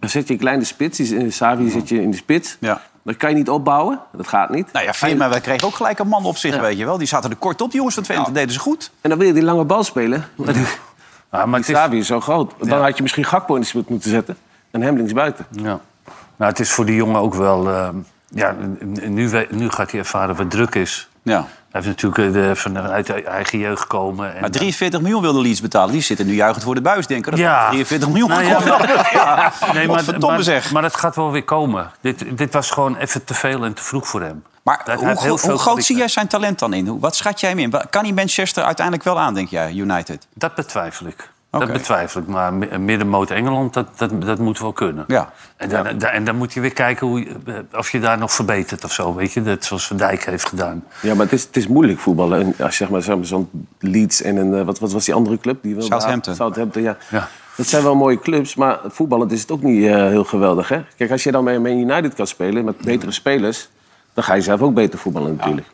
Speaker 3: Dan zet je een kleine spits. Die is- in Savi zet je in de spits.
Speaker 1: Ja.
Speaker 3: Dat kan je niet opbouwen. Dat gaat niet.
Speaker 1: Nou ja, Firma, wij kregen ook gelijk een man op zich, weet je wel. Die zaten er kort op, die jongens van Twente. Dat deden ze goed.
Speaker 3: En dan wil je die lange bal spelen. Maar die
Speaker 2: Ja, Ah, maar het is,
Speaker 3: Savi is zo groot. Dan had je misschien Gakpo in de spits moeten zetten. En hem linksbuiten.
Speaker 2: Ja. Nou, het is voor die jongen ook wel... ehm, ja, n- n- nu, we- nu gaat hij ervaren wat druk is.
Speaker 1: Ja.
Speaker 2: Hij heeft natuurlijk eh, de, van uit de eigen jeugd komen. En,
Speaker 1: Maar 43 miljoen wilde Leeds betalen. Die zitten nu juichend voor de buis, denken. Dat
Speaker 2: Ja.
Speaker 1: 43 miljoen
Speaker 2: Nou ja,
Speaker 1: gekost hebben. ja.
Speaker 2: Nee,
Speaker 1: Wat
Speaker 2: maar,
Speaker 1: verdomme
Speaker 2: maar,
Speaker 1: zeg.
Speaker 2: maar dat gaat wel weer komen. Dit, dit was gewoon even te veel en te vroeg voor hem.
Speaker 1: Maar
Speaker 2: Hij- hij
Speaker 1: hoe,
Speaker 2: heeft heel
Speaker 1: gro-
Speaker 2: veel
Speaker 1: hoe groot zie
Speaker 2: kwaliteit.
Speaker 1: jij zijn talent dan in? Hoe- Wat schat jij hem in? Wa- Kan hij Manchester uiteindelijk wel aan, denk jij, United?
Speaker 2: Dat betwijfel ik.
Speaker 1: Oké.
Speaker 2: Dat betwijfel ik. Maar mi- middenmoot Engeland, dat, dat, dat moet wel kunnen.
Speaker 1: Ja.
Speaker 2: En, dan, da- en dan moet je weer kijken hoe, je- eh, of je daar nog verbetert of zo. Weet je? Dat, zoals Van Dijk heeft gedaan.
Speaker 3: Ja, maar het is, het is moeilijk voetballen. En als zeg maar zeg maar zo'n Leeds en een, eh, wat, wat was die andere club? Die wel-
Speaker 1: Southampton.
Speaker 3: Southampton, ja.
Speaker 2: Ja.
Speaker 3: Dat zijn wel mooie clubs, maar voetballend is het ook niet eh, heel geweldig, hè? Kijk, als je dan bij Man United kan spelen met betere spelers, dan ga je zelf ook beter voetballen natuurlijk.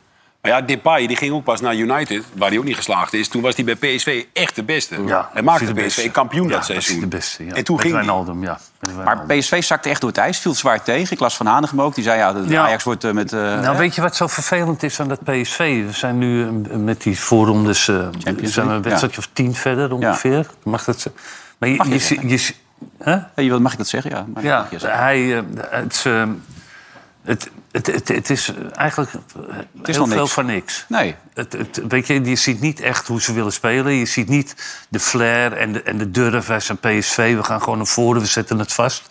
Speaker 4: Maar ja, Depay die ging ook pas naar United, waar hij ook niet geslaagd is. Toen was hij bij PSV echt de beste.
Speaker 2: Ja,
Speaker 4: hij
Speaker 2: was hij
Speaker 4: maakte
Speaker 2: de
Speaker 4: PSV
Speaker 2: beste.
Speaker 4: kampioen
Speaker 2: Ja,
Speaker 4: dat
Speaker 2: was hij
Speaker 4: seizoen.
Speaker 2: de beste, ja.
Speaker 4: En toen
Speaker 2: Met
Speaker 4: ging hij.
Speaker 2: Wijnaldum, ja. Met
Speaker 1: Maar
Speaker 2: Wijnaldum.
Speaker 1: PSV zakte echt door het ijs, viel zwaar tegen. Ik las van Hanegem ook, die zei ja, de
Speaker 2: Ja.
Speaker 1: Ajax wordt eh, met... eh,
Speaker 2: Nou, weet je wat zo vervelend is aan dat PSV? We zijn nu eh, met die voorrondes... eh, zijn we
Speaker 1: League,
Speaker 2: een wedstrijdje of tien verder ongeveer. Mag dat... ze- Maar je,
Speaker 1: Mag je
Speaker 2: je, zie-
Speaker 1: zeggen.
Speaker 2: je zie- hè?
Speaker 1: eh, je wil- mag ik dat zeggen? Ja, mag-
Speaker 2: Ja,
Speaker 1: mag je zeggen.
Speaker 2: hij, eh, het, is, eh, het, het, het, het is eigenlijk het
Speaker 1: is
Speaker 2: heel
Speaker 1: nog
Speaker 2: veel
Speaker 1: niks.
Speaker 2: van niks.
Speaker 1: Nee.
Speaker 2: Het, het, weet je, je ziet niet echt hoe ze willen spelen. Je ziet niet de flair en de, en de durf. Wij zijn PSV, we gaan gewoon naar voren, we zetten het vast.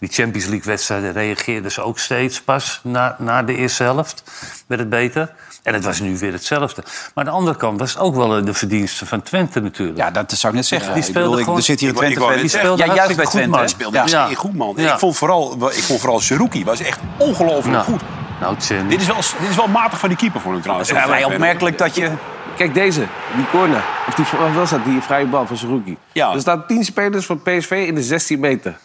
Speaker 2: Die Champions League-wedstrijden reageerden ze ook steeds pas na, na de eerste helft. Werd het beter. En het was nu weer hetzelfde. Maar aan de andere kant was het ook wel eh, de verdienste van Twente natuurlijk.
Speaker 1: Ja, dat zou ik net zeggen.
Speaker 2: Die
Speaker 1: Ik
Speaker 2: speelde
Speaker 1: bedoel, ik-
Speaker 2: gewoon-
Speaker 1: Er zit hier een
Speaker 4: Ik wou- ik
Speaker 1: Twente
Speaker 4: wou
Speaker 1: fan.
Speaker 4: net
Speaker 1: Die
Speaker 4: zeggen,
Speaker 1: speelt- Jij juicht bij
Speaker 2: hartstikke goed,
Speaker 1: Twente,
Speaker 2: man.
Speaker 1: hè?
Speaker 4: speelde
Speaker 1: Ja.
Speaker 4: ja.
Speaker 2: Ja.
Speaker 4: goed, man.
Speaker 2: Ja.
Speaker 4: Ik vond vooral, ik vond vooral Seruki was echt ongelooflijk
Speaker 2: Nou,
Speaker 4: goed.
Speaker 2: Nou, Tjen.
Speaker 4: Dit is, wel, dit is wel matig van die keeper voor hem trouwens.
Speaker 1: Ja, maar opmerkelijk dat je...
Speaker 3: Kijk, deze, die corner. Of die, wat was dat? Die vrije bal van Zerouki.
Speaker 4: Ja.
Speaker 3: Er staan tien spelers van PSV in de 16 meter.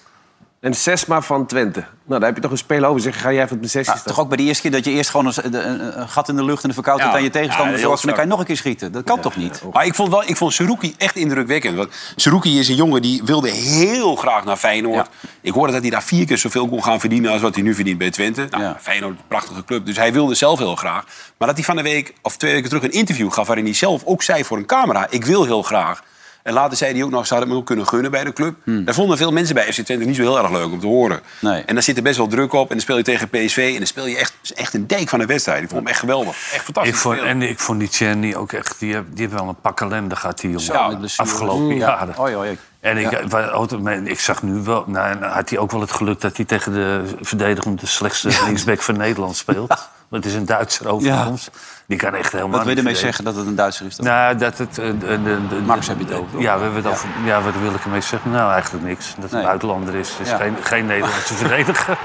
Speaker 3: En zes maar van Twente. Nou, daar heb je toch een speler over. Zeg, ga jij even op de 16
Speaker 1: Ja, Nou, toch ook bij de eerste keer dat je eerst gewoon een, een- een gat in de lucht en een verkoudheid
Speaker 4: Ja.
Speaker 1: aan je
Speaker 4: Ja,
Speaker 1: tegenstander
Speaker 4: heel
Speaker 1: zorgt. En dan
Speaker 4: strak.
Speaker 1: kan je nog een keer schieten. Dat kan toch niet?
Speaker 4: Maar ik vond, wel, ik vond Seruki echt indrukwekkend. Want Seruki is een jongen die wilde heel graag naar Feyenoord. Ik hoorde dat hij daar vier keer zoveel kon gaan verdienen als wat hij nu verdient bij Twente. Nou,
Speaker 1: Ja.
Speaker 4: Feyenoord, een prachtige club. Dus hij wilde zelf heel graag. Maar dat hij van de week of twee weken terug een interview gaf... waarin hij zelf ook zei voor een camera, ik wil heel graag. En later zei hij ook nog, ze hadden hem ook kunnen gunnen bij de club. Daar vonden veel mensen bij FC Twente niet zo heel erg leuk om te horen.
Speaker 1: Hmm. Nee.
Speaker 4: En daar zit er best wel druk op. En dan speel je tegen PSV. En dan speel je echt, echt een dijk van een wedstrijd. Ik vond hem echt geweldig. Echt fantastisch.
Speaker 2: Ik vond,
Speaker 4: gespeeld.
Speaker 2: en ik vond die Tjerni ook echt... Die heeft, die heeft wel een pak ellende gehad, die jongen.
Speaker 4: Ja, met
Speaker 1: blessures. Mm,
Speaker 2: afgelopen jaren.
Speaker 1: Oei, oei, oei.
Speaker 2: En ik, wa- auto- maar ik zag nu wel... Nou, en had hij ook wel het geluk dat hij tegen de verdedigende... de slechtste linksback van Nederland speelt. Want het is een Duitser overigens. Die kan echt helemaal
Speaker 1: Wat wil je
Speaker 2: niet
Speaker 1: ermee
Speaker 2: verdedigen.
Speaker 1: zeggen dat het een Duitser is? dan?
Speaker 2: Nou, dat het... eh, de- de- de-
Speaker 1: Max
Speaker 2: de-
Speaker 1: heb je het over,
Speaker 2: Ja, we hebben het over... Ja, wat wil ik ermee zeggen? Nou, eigenlijk niks. Dat hij
Speaker 1: Nee.
Speaker 2: een buitenlander is. Dus
Speaker 1: Ja.
Speaker 2: geen, geen Nederlandse verdediger.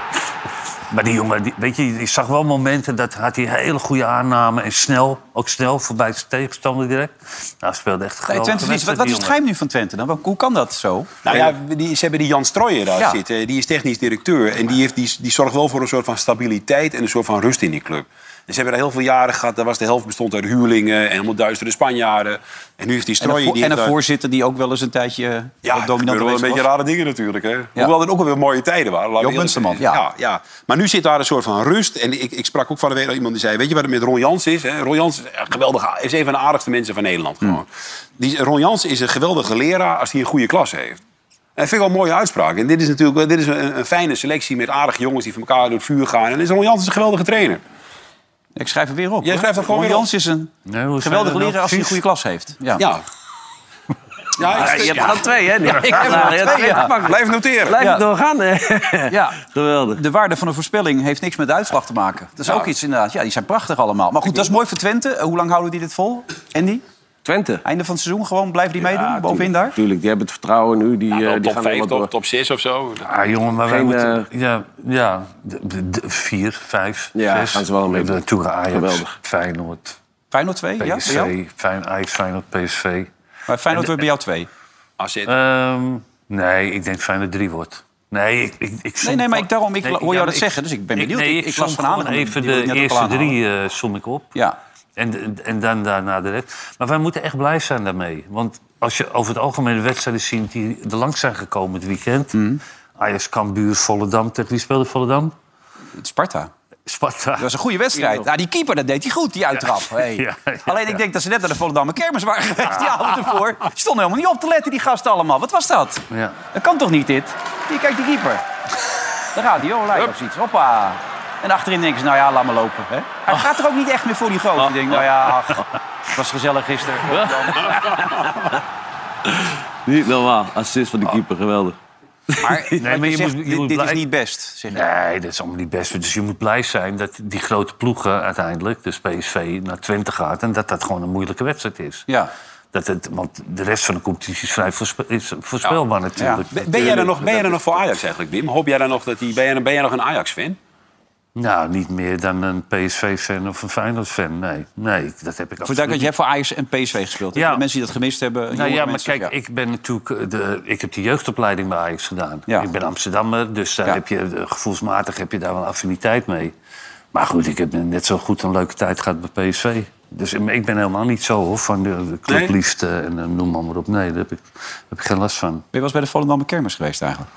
Speaker 2: Maar die jongen, die, weet je, ik zag wel momenten dat had hij hele goede aanname. En snel, ook snel voorbij zijn tegenstander direct. Nou, speelde echt
Speaker 1: Nee,
Speaker 2: geweldig.
Speaker 1: Twente verliest. Wat, wat is het geheim nu van Twente dan? Wat- Hoe kan dat zo?
Speaker 4: Nou ja, die, ze hebben die Jan Strooijer daar
Speaker 1: Ja.
Speaker 4: zitten. Die is technisch directeur. En die, heeft, die, die zorgt wel voor een soort van stabiliteit en een soort van rust in die club. Dus ze hebben er heel veel jaren gehad. Daar was de helft bestond uit huurlingen en helemaal duistere Spanjaarden. En nu heeft die
Speaker 1: En, een,
Speaker 4: Strooien... die
Speaker 1: voor- en een
Speaker 4: heeft daar-
Speaker 1: voorzitter die ook wel eens een tijdje eh,
Speaker 4: ja,
Speaker 1: wat dominant
Speaker 4: gebeuren wel
Speaker 1: geweest
Speaker 4: een beetje
Speaker 1: was.
Speaker 4: rare dingen natuurlijk. Hè? Hoewel er ook wel weer mooie tijden waren. laten we
Speaker 1: Joop
Speaker 4: eerlijk zijn.
Speaker 1: Munsterman, ja.
Speaker 4: ja. ja. Maar nu zit daar een soort van rust. En ik, ik sprak ook van de week al iemand die zei... Weet je wat het met Ron Jans is? Hè? Ron Jans is een geweldige, is een van de aardigste mensen van Nederland.
Speaker 1: Hmm.
Speaker 4: Gewoon. Die, Ron Jans is een geweldige leraar als hij een goede klas heeft. En dat vind ik wel een mooie uitspraak. En dit is natuurlijk wel- dit is een, een fijne selectie met aardige jongens die van elkaar door het vuur gaan. En is Ron Jans is een geweldige trainer.
Speaker 1: Ik schrijf het weer op.
Speaker 4: Jij
Speaker 1: hoor.
Speaker 4: schrijft het gewoon
Speaker 1: Ron
Speaker 4: weer op.
Speaker 1: Jans is een
Speaker 2: Nee, hoe zei
Speaker 1: geweldige
Speaker 2: dat nou
Speaker 1: leraar als hij een goede
Speaker 2: precies?
Speaker 1: klas heeft. Ja.
Speaker 4: Ja. Ja,
Speaker 6: Ah,
Speaker 4: ik-
Speaker 6: je hebt er al twee, hè? nu?
Speaker 1: ik heb er al
Speaker 6: Nou,
Speaker 1: twee,
Speaker 6: dat vind ik
Speaker 1: ja.
Speaker 6: makkelijk.
Speaker 4: Blijf noteren.
Speaker 6: Blijf
Speaker 1: Ja.
Speaker 6: doorgaan, hè?
Speaker 1: Ja.
Speaker 6: Geweldig.
Speaker 1: De waarde van een voorspelling heeft niks met de uitslag te maken. Dat is ook
Speaker 2: Nou.
Speaker 1: iets inderdaad. Ja, die zijn prachtig allemaal. Maar goed, dat is mooi voor Twente. Eh, Hoe lang houden die dit vol? Andy?
Speaker 6: Twente.
Speaker 1: Einde van het seizoen gewoon blijven die meedoen?
Speaker 3: Ja,
Speaker 1: Bovenin daar?
Speaker 3: Tuurlijk, die hebben het vertrouwen nu. Die, eh, die
Speaker 4: top
Speaker 3: gaan helemaal
Speaker 4: 5,
Speaker 3: door.
Speaker 4: top, top 6 of zo. Nou,
Speaker 2: Ah, jongen, maar wij
Speaker 3: Geen, eh,
Speaker 2: moeten... ja, ja de, de- de- vier, vijf,
Speaker 3: Ja,
Speaker 2: zes.
Speaker 3: gaan ze wel mee
Speaker 2: We hebben
Speaker 3: doen.
Speaker 2: Natuurlijk Ajax,
Speaker 3: Geweldig.
Speaker 2: Feyenoord,
Speaker 1: Feyenoord 2? Ja, bij
Speaker 2: PSV.
Speaker 1: jou?
Speaker 2: Fijn, Ajax, Feyenoord, PSV.
Speaker 1: Maar Feyenoord wordt bij jou 2.
Speaker 4: AZ.
Speaker 2: Ehm, nee, ik denk Feyenoord drie wordt. Nee, ik, ik, ik som
Speaker 1: Nee, nee, maar ik, daarom, ik
Speaker 2: Nee,
Speaker 1: hoor jou
Speaker 2: ja,
Speaker 1: dat zeggen, dus ik ben benieuwd.
Speaker 2: nee,
Speaker 1: Ik- ik
Speaker 2: som
Speaker 1: las vanavond
Speaker 2: gewoon
Speaker 1: al,
Speaker 2: even
Speaker 1: die wil ik
Speaker 2: de
Speaker 1: net ook
Speaker 2: eerste
Speaker 1: al aanhalen.
Speaker 2: drie eh, som ik op.
Speaker 1: Ja.
Speaker 2: En, en dan daarna de rest. Maar wij moeten echt blij zijn daarmee. Want als je over het algemeen de wedstrijden ziet die er langs zijn gekomen het weekend.
Speaker 1: Mhm.
Speaker 2: Ajax Cambuur, Volendam. Tegen wie speelde Volendam?
Speaker 1: Sparta.
Speaker 2: Sparta.
Speaker 1: Dat was een goede wedstrijd. Nou, die keeper, dat deed hij goed, die uittrap. Hey.
Speaker 2: Ja, ja.
Speaker 1: Alleen ik denk dat ze net naar de Volendamme kermis waren geweest die avond ervoor. Die stonden helemaal niet op te letten, die gasten allemaal. Wat was dat?
Speaker 2: Ja.
Speaker 1: Dat kan toch niet, dit? Hier, kijk die keeper. Daar gaat hij, hoor. Lijkt op iets. Hoppa. En achterin denken ze, nou ja, laat maar lopen. Hè? Hij gaat er ook niet echt meer voor die
Speaker 2: Oh.
Speaker 1: gozer. Ik denk, nou ja, ach, het was gezellig gisteren.
Speaker 6: Niet normaal. Assist van de keeper, geweldig.
Speaker 1: Maar,
Speaker 2: maar
Speaker 1: je
Speaker 2: je
Speaker 1: zegt,
Speaker 2: moet- je
Speaker 1: dit,
Speaker 2: moet
Speaker 1: dit is
Speaker 2: blij-
Speaker 1: niet best, zeg je.
Speaker 2: Nee, dat is allemaal niet best. Dus je moet blij zijn dat die grote ploegen uiteindelijk, dus PSV, naar Twente gaat. En dat dat gewoon een moeilijke wedstrijd is.
Speaker 1: Ja.
Speaker 2: Dat het, want de rest van de competitie is vrij voorspe- is voorspelbaar natuurlijk.
Speaker 4: Ben, ben jij er nog, ben jij er nog voor Ajax eigenlijk, Wim? Hoop jij dan nog dat die, ben, jij, ben jij nog een Ajax-fan?
Speaker 2: Nou, niet meer dan een PSV-fan of een Feyenoord-fan. Nee, nee, dat heb ik
Speaker 1: Voor dat
Speaker 2: absoluut
Speaker 1: je hebt voor Ajax en PSV gespeeld.
Speaker 2: Ja.
Speaker 1: Ja. Mensen die dat gemist hebben.
Speaker 2: Nou
Speaker 1: jonge
Speaker 2: ja, maar
Speaker 1: mensen,
Speaker 2: kijk, ik ben natuurlijk. eh, De, ik heb die jeugdopleiding bij Ajax gedaan.
Speaker 1: Ja.
Speaker 2: Ik ben Amsterdammer, dus daar
Speaker 1: Ja.
Speaker 2: heb je eh, gevoelsmatig heb je daar wel affiniteit mee. Maar goed, ik heb net zo goed een leuke tijd gehad bij PSV. Dus eh, maar ik ben helemaal niet zo hoor, van de, de clubliefde en eh, noem maar, maar op. Nee, daar heb ik, heb ik geen last van.
Speaker 1: Ben je wel eens bij de Volendamme kermis geweest eigenlijk?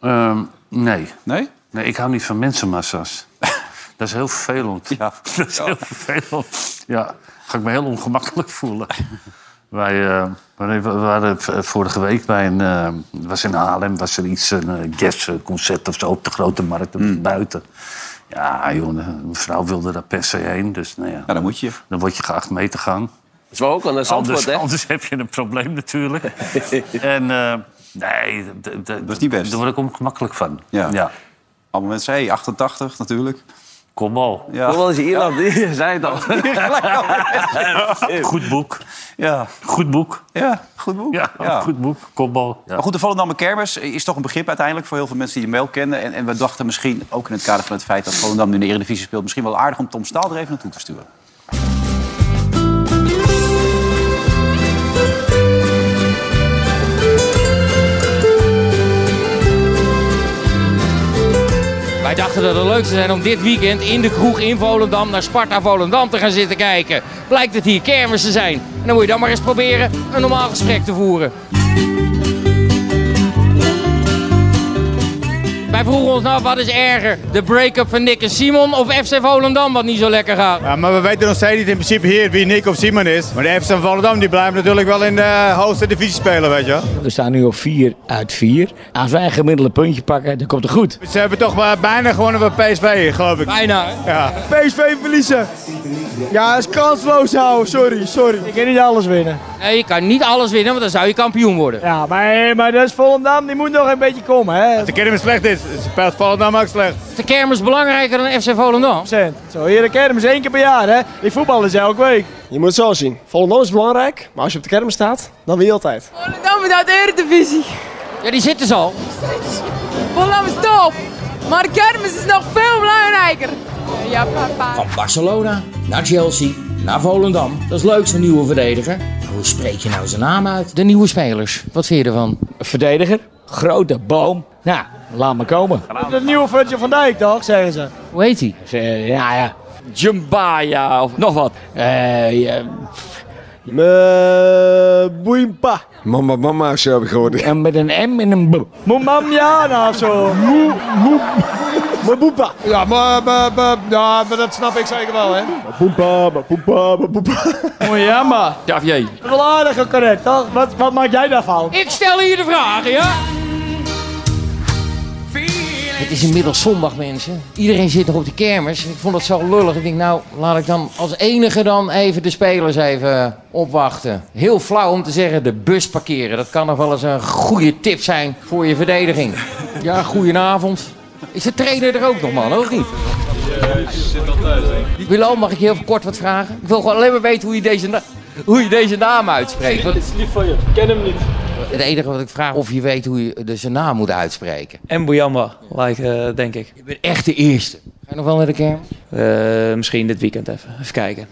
Speaker 2: Ehm, nee.
Speaker 1: Nee? Nou,
Speaker 2: nee, ik hou niet van mensenmassa's. Dat is heel vervelend.
Speaker 1: Ja.
Speaker 2: Dat is heel vervelend. Ja, ga ik me heel ongemakkelijk voelen. Wij, eh, wanneer- we waren v- vorige week bij een... eh, was in Haarlem, was er iets, een eh, jazzconcert of zo... op de Grote Markt, of
Speaker 1: Hmm.
Speaker 2: buiten. Ja, jongen, een vrouw wilde daar per se heen. Dus nou ja,
Speaker 1: Nou, dan moet je.
Speaker 2: dan word je geacht mee te gaan.
Speaker 6: Dat is wel
Speaker 3: eh,
Speaker 6: ook een
Speaker 2: Anders,
Speaker 6: Zandvoort, hè?
Speaker 2: anders heb je een probleem natuurlijk. en eh, nee, d- d- d-
Speaker 1: is niet best.
Speaker 2: daar word ik ongemakkelijk van.
Speaker 1: Ja.
Speaker 2: ja.
Speaker 1: Allemaal mensen, hey, 88 natuurlijk.
Speaker 2: Kom al.
Speaker 1: Ja.
Speaker 6: Ook wel eens in Ierland, die zei het al.
Speaker 2: Goed boek.
Speaker 1: Ja,
Speaker 2: Goed boek.
Speaker 1: ja goed boek.
Speaker 2: Ja,
Speaker 1: Ja.
Speaker 2: goed boek. Kom al. Ja.
Speaker 1: Maar Nou goed, de Volendamme kermis is toch een begrip uiteindelijk... voor heel veel mensen die de mail kennen. En, en we dachten misschien, ook in het kader van het feit... dat Volendam nu in de Eredivisie speelt... misschien wel aardig om Tom Staal er even naartoe te sturen.
Speaker 7: Wij dachten dat het leuk zou zijn om dit weekend in de kroeg in Volendam naar Sparta Volendam te gaan zitten kijken. Blijkt het hier kermis te zijn. En dan moet je dan maar eens proberen een normaal gesprek te voeren. Wij vroegen ons nou wat is erger, de break-up van Nick en Simon of FC Volendam wat niet zo lekker gaat.
Speaker 8: Ja, maar we weten nog steeds niet in principe hier wie Nick of Simon is. Maar de FC Volendam die blijft natuurlijk wel in de hoogste divisie spelen, weet je. wel.
Speaker 9: We staan nu op 4 uit 4. Als wij een gemiddelde puntje pakken, dan komt het goed.
Speaker 8: Ze hebben toch maar bijna gewonnen bij PSV, hier, geloof ik.
Speaker 7: Bijna. hè?
Speaker 8: Ja. PSV verliezen. Ja, is kansloos houden. Sorry, sorry.
Speaker 9: Ik kan niet alles winnen.
Speaker 7: Nee, je kan niet alles winnen, want dan zou je kampioen worden.
Speaker 9: Ja, maar, maar dat is Volendam, die moet nog een beetje komen, hè.
Speaker 8: De keer hem slecht is, speelt Volendam ook slecht.
Speaker 7: Is de kermis belangrijker dan FC Volendam?
Speaker 9: Zo, hier de kermis één keer per jaar, hè. Die voetballen is elke week. Je moet het zo zien. Volendam is belangrijk, maar als je op de kermis staat, dan win je altijd.
Speaker 10: Volendam is uit de Eredivisie.
Speaker 7: Ja, die zitten ze al.
Speaker 10: Volendam is top. Maar de kermis is nog veel belangrijker. Ja, papa.
Speaker 7: Van Barcelona naar Chelsea naar Volendam. Dat is leuk, zo'n nieuwe verdediger. Maar hoe spreek je nou zijn naam uit? De nieuwe spelers. Wat vind je ervan?
Speaker 9: Verdediger, grote boom. Nou, laat me komen. De nieuwe ventje van Dijk, toch, zeggen ze.
Speaker 7: Hoe heet hij?
Speaker 9: Ja, ja.
Speaker 7: Jumbaya of nog wat. Eh, ja,
Speaker 9: Eh, Boeimpa.
Speaker 11: Mama, mama of zo heb ik gehoord.
Speaker 7: En met een M en een B.
Speaker 9: Momamjana of zo. Maboepa. Ja, maar, maar, maar, ja, maar dat snap ik zeker wel, hè.
Speaker 11: Boempa, boempa, boempa.
Speaker 9: Mojama.
Speaker 7: Ja, jij.
Speaker 9: Wel aardig en correct, toch? Wat, wat maak jij daarvan?
Speaker 7: Ik stel hier de vragen, ja? Het is inmiddels zondag, mensen. Iedereen zit nog op de kermis. Ik vond dat zo lullig. Ik denk, nou, laat ik dan als enige dan even de spelers even eh, opwachten. Heel flauw om te zeggen, de bus parkeren. Dat kan nog wel eens een goede tip zijn voor je verdediging. Ja, goedenavond. Is de trainer er ook nog, man, of niet?
Speaker 12: zit al thuis,
Speaker 7: Willem, mag ik je heel kort wat vragen? Ik wil gewoon alleen maar weten hoe je deze, na- hoe je deze naam uitspreekt.
Speaker 12: Het
Speaker 7: Want
Speaker 12: is lief van je. Ik ken hem niet.
Speaker 7: het enige wat ik vraag of je weet hoe je de- zijn naam moet uitspreken.
Speaker 12: Mbuyamba, like, eh, denk ik.
Speaker 7: Je bent echt de eerste. Ga je nog wel naar de kerm?
Speaker 12: Eh, misschien dit weekend even. Even kijken.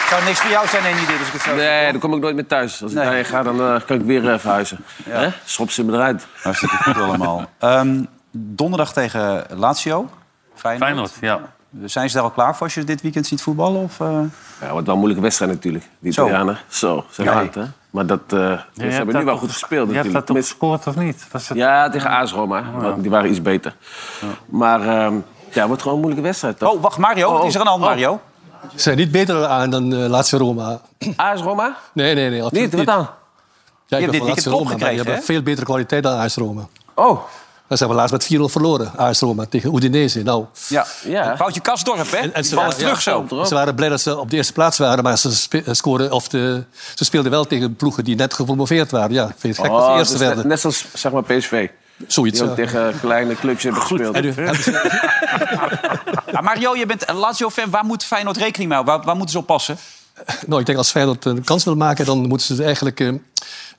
Speaker 1: Het zou niks voor jou zijn, Andy, dit, als ik het zo
Speaker 3: Nee, dan kom ik nooit meer thuis. Als ik daarheen ga, dan eh, kan ik weer eh, verhuizen. Hè? Schop ze me eruit.
Speaker 1: Hartstikke goed allemaal. Ehm, donderdag tegen Lazio. Feyenoord.
Speaker 2: ja.
Speaker 1: Zijn ze daar al klaar voor als je dit weekend ziet voetballen? Of, eh?
Speaker 3: Ja, wordt wel een moeilijke wedstrijd natuurlijk. Die
Speaker 1: Zo.
Speaker 3: Italianen. Zo, zijn
Speaker 1: Ja.
Speaker 3: hard, hè. Maar dat, eh, ze
Speaker 2: hebt
Speaker 3: hebben
Speaker 2: dat
Speaker 3: nu wel
Speaker 2: toch-
Speaker 3: goed gespeeld
Speaker 2: je hebt
Speaker 3: natuurlijk.
Speaker 2: dat toch Oh, gescoord of niet? Was het...
Speaker 3: Ja, tegen AS Roma. want Die waren iets beter. Maar ehm, ja, het wordt gewoon een moeilijke wedstrijd. Toch?
Speaker 1: Oh, wacht, Mario. wat is er aan de hand, Mario?
Speaker 5: Ze zijn niet beter aan dan eh laatste Roma.
Speaker 2: Oh.
Speaker 3: AS Roma?
Speaker 5: Nee, nee, nee. absoluut
Speaker 3: Niet? Wat dan?
Speaker 5: Ja, ik ben
Speaker 1: dit
Speaker 5: van
Speaker 1: weekend
Speaker 5: AS
Speaker 1: kop
Speaker 5: Roma, maar die
Speaker 1: gekregen,
Speaker 5: hebben
Speaker 1: hè?
Speaker 5: veel betere kwaliteit dan AS Roma.
Speaker 3: Oh,
Speaker 5: Dan zijn we laatst met 4-0 verloren, AS Roma, tegen Udinese. Nou,
Speaker 1: Ja.
Speaker 3: ja.
Speaker 1: Foutje Kastdorp, hè? En,
Speaker 5: ze waren-
Speaker 1: terug zo.
Speaker 3: Komt erop.
Speaker 5: ze waren blij dat ze op de eerste plaats waren, maar ze, spe- eh, scoren, of de, ze speelden wel tegen ploegen die net gepromoveerd waren. Ja, vind je het gek dat ze
Speaker 3: Oh,
Speaker 5: eerste
Speaker 3: dus net-
Speaker 5: werden?
Speaker 3: Net zoals zeg maar, PSV.
Speaker 5: Zoiets.
Speaker 3: Die ook
Speaker 5: ja.
Speaker 3: tegen kleine clubs hebben gespeeld.
Speaker 5: En nu hebben ze-
Speaker 1: Maar Mario, je bent een Lazio-fan. Waar moet Feyenoord rekening mee houden? Waar, waar moeten ze op passen?
Speaker 5: Nou, ik denk als Feyenoord een kans wil maken, dan moeten ze eigenlijk eh,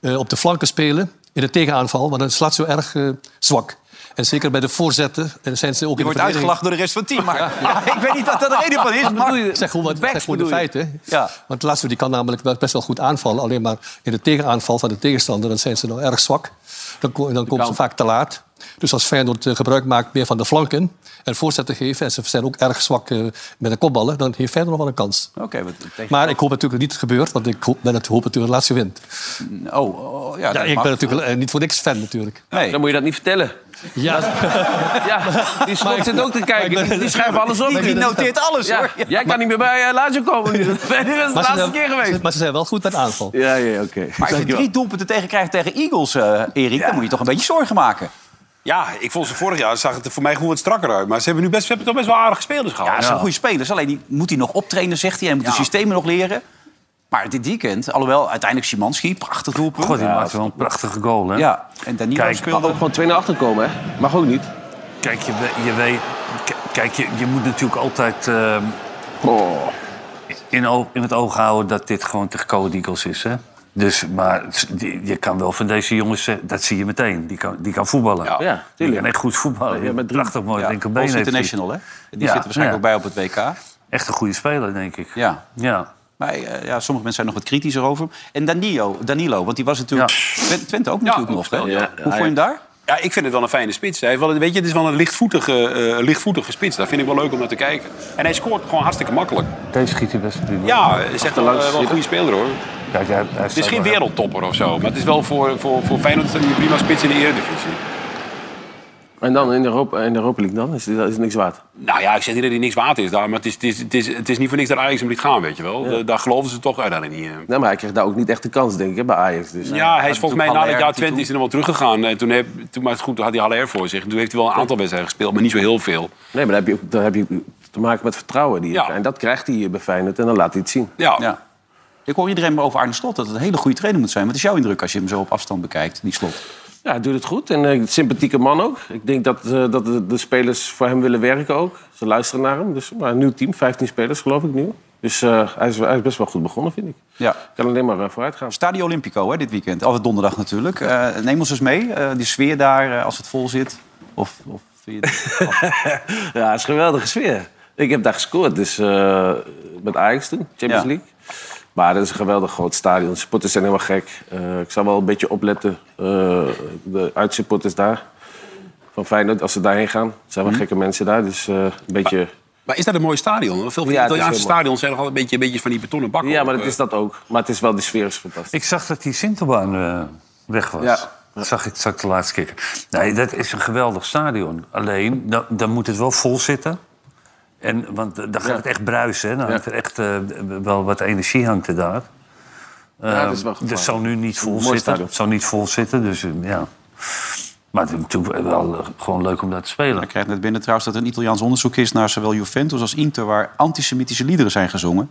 Speaker 5: eh, op de flanken spelen in de tegenaanval, want dan slaat ze erg eh, zwak. En zeker bij de voorzetten eh, zijn ze ook
Speaker 1: Je
Speaker 5: in de
Speaker 1: wordt
Speaker 5: verdediging-
Speaker 1: uitgelachen door de rest van het team. Maar ik weet niet wat dat de reden van is. Maar...
Speaker 5: Ik zeg gewoon, wat, ik zeg gewoon de
Speaker 1: bedoel je?
Speaker 5: feiten.
Speaker 1: Ja.
Speaker 5: Want Lazio die kan namelijk wel- best wel goed aanvallen. Alleen maar in de tegenaanval van de tegenstander dan zijn ze nog erg zwak. Dan, ko- dan komen ze vaak te laat. Dus als Feyenoord eh, gebruik maakt meer van de flanken... en voorzetten geven, en ze zijn ook erg zwak eh, met de kopballen... dan heeft Feyenoord nog wel een kans.
Speaker 1: Oké, wat tegen-
Speaker 5: Maar ik hoop natuurlijk dat het niet gebeurt... want ik hoop, ben het, hoop natuurlijk dat Lazio wint.
Speaker 1: Oh, oh, ja,
Speaker 5: Ja,
Speaker 1: dat
Speaker 5: ik
Speaker 1: mag.
Speaker 5: ben natuurlijk eh, niet voor niks fan natuurlijk.
Speaker 1: Nee.
Speaker 3: Dan moet je dat niet vertellen.
Speaker 5: Ja,
Speaker 3: Ja, die schot zit ook te kijken. Die, die schrijven alles op.
Speaker 1: Die noteert alles,
Speaker 3: Ja,
Speaker 1: hoor.
Speaker 3: jij kan niet meer bij eh, Lazio komen nu. Dat is de laatste
Speaker 5: zijn-
Speaker 3: keer geweest.
Speaker 5: maar ze zijn wel goed met aanval.
Speaker 3: Ja, ja, oké.
Speaker 1: Maar als je drie doelpunten tegen krijgt tegen Eagles, eh, Erik... dan moet je toch een beetje zorgen maken.
Speaker 4: Ja, ik vond ze vorig jaar, zag het er voor mij gewoon wat strakker uit. Maar ze hebben nu best, ze hebben toch best wel aardige spelers
Speaker 1: Ja,
Speaker 4: gehad.
Speaker 1: dat zijn goede spelers. Alleen die moet hij nog optrainen, zegt hij. En moet de systemen nog leren. Maar dit weekend, alhoewel uiteindelijk Simanski, prachtig doelpunt.
Speaker 2: God, die
Speaker 1: ja.
Speaker 2: maakte wel een prachtige goal, hè?
Speaker 1: ja, en Danilo
Speaker 2: Kijk,
Speaker 1: speelde
Speaker 3: Ook gewoon 2 naar achter komen, hè? Mag ook niet.
Speaker 2: Kijk, je, we- je, weet, k- kijk je, je moet natuurlijk altijd ehm,
Speaker 3: Oh.
Speaker 2: in, o- in het oog houden dat dit gewoon tegen Code Eagles is. Hè? Dus, maar s- die- je kan wel van deze jongens, zeggen- dat zie je meteen, die kan, die kan voetballen.
Speaker 1: Ja,
Speaker 3: ja,
Speaker 2: die
Speaker 3: tuurlijk.
Speaker 2: kan echt goed voetballen.
Speaker 3: Ja, met drie-
Speaker 2: Prachtig mooi
Speaker 1: ja,
Speaker 2: linkerbeen
Speaker 1: Oost
Speaker 2: heeft hij.
Speaker 1: International, hè? Die
Speaker 2: Ja,
Speaker 1: zit er waarschijnlijk
Speaker 2: ja.
Speaker 1: ook bij op het WK.
Speaker 2: Echt een goede speler, denk ik.
Speaker 1: Ja.
Speaker 2: ja.
Speaker 1: Maar eh, ja, sommige mensen zijn nog wat kritischer over hem. En Danilo, Danilo want die was natuurlijk... Twen- Twente ook natuurlijk nog, hè?
Speaker 3: ja.
Speaker 1: Hoe vond je hem daar?
Speaker 4: Ja, ik vind het wel een fijne spits. Hij heeft wel een- weet je, het is wel een lichtvoetige, eh, lichtvoetige spits. Dat vind ik wel leuk om naar te kijken. En hij scoort gewoon hartstikke makkelijk.
Speaker 2: Deze schiet hij best prima.
Speaker 4: Ja, hij is echt wel,
Speaker 3: Achterlangs
Speaker 4: eh, wel
Speaker 3: zitten.
Speaker 4: een goede speler hoor.
Speaker 2: Kijk, hij, hij
Speaker 4: Het is geen wereldtopper of zo. Maar het is wel voor, voor, voor Feyenoord is dat een prima spits in de Eredivisie.
Speaker 3: En dan in de Europa, in de Europa League dan? Is, is het niks waard?
Speaker 4: Nou ja, ik zeg niet dat hij niks waard is daar. Maar het is, het is, het is, het is niet voor niks dat Ajax hem liet gaan, weet je wel. Da- Daar geloven ze toch uiteindelijk niet in.
Speaker 3: Nee, maar hij kreeg daar ook niet echt de kans, denk ik, hè, bij Ajax. Dus.
Speaker 4: Ja, hij is volgens mij
Speaker 1: Haller
Speaker 4: na het jaar
Speaker 1: natuurlijk
Speaker 4: 20 is hij nog wel teruggegaan. En toen, heb, toen maar goed, toen had hij Haller voor zich. En toen heeft hij wel een aantal wedstrijden gespeeld, maar niet zo heel veel.
Speaker 3: Nee, maar dan heb, je, ook- dan heb je te maken met vertrouwen. Die je-
Speaker 4: Ja.
Speaker 3: En dat krijgt hij hier bij Feyenoord en dan laat hij het zien.
Speaker 4: Ja,
Speaker 1: Ja. Ik hoor iedereen maar over Arne Slot dat het een hele goede trainer moet zijn. Wat is jouw indruk als je hem zo op afstand bekijkt, die Slot?
Speaker 3: Ja, hij doet het goed. En een sympathieke man ook. Ik denk dat, eh, dat de, de spelers voor hem willen werken ook. Ze luisteren naar hem. Dus maar een nieuw team, 15 spelers geloof ik nu. Dus eh, hij, is, hij is best wel goed begonnen, vind ik.
Speaker 1: Ja.
Speaker 3: Kan alleen maar eh, vooruit gaan.
Speaker 1: Stadio Olimpico hè, dit weekend. Altijd donderdag natuurlijk. Eh, neem ons eens mee, eh, die sfeer daar eh, als het vol zit. Of, of vind je het-
Speaker 3: Ja, het is een geweldige sfeer. Ik heb daar gescoord, dus eh, met Ajax toen, Champions
Speaker 1: Ja.
Speaker 3: League. Maar het is een geweldig groot stadion. De supporters zijn helemaal gek. Eh, ik zou wel een beetje opletten. eh, de uitsupporters daar. Van Feyenoord, als ze daarheen gaan. Het zijn wel gekke mensen daar. Dus eh, een beetje...
Speaker 4: Maar is dat een mooi stadion? Want Veel van die
Speaker 3: Ja, het is
Speaker 4: Italiaanse
Speaker 3: heel mooi.
Speaker 4: stadions zijn nogal een beetje, een beetje van die betonnen bakken.
Speaker 3: Ja, maar
Speaker 4: op,
Speaker 3: dat
Speaker 4: eh.
Speaker 3: is dat ook. Maar het is wel, de sfeer is fantastisch.
Speaker 2: Ik zag dat die Sinterbaan eh, weg was.
Speaker 3: Ja.
Speaker 2: Dat zag ik, zag ik de laatste keer. Nee, dat is een geweldig stadion. Alleen, dan, dan moet het wel vol zitten. En, want eh, dan gaat het echt bruisen. Hè? Dan hangt er echt eh, wel wat energie hangt er daar.
Speaker 3: Ja,
Speaker 2: Eh,
Speaker 3: dat is wel gevaarlijk.
Speaker 2: het zal nu niet vol
Speaker 3: Mooi
Speaker 2: zitten.
Speaker 3: stadion.
Speaker 2: Het zal niet vol zitten, dus eh, ja. Maar het is natuurlijk wel eh, gewoon leuk om daar te spelen.
Speaker 1: Ik krijg net binnen trouwens dat er een Italiaans onderzoek is naar zowel Juventus als Inter... waar antisemitische liederen zijn gezongen.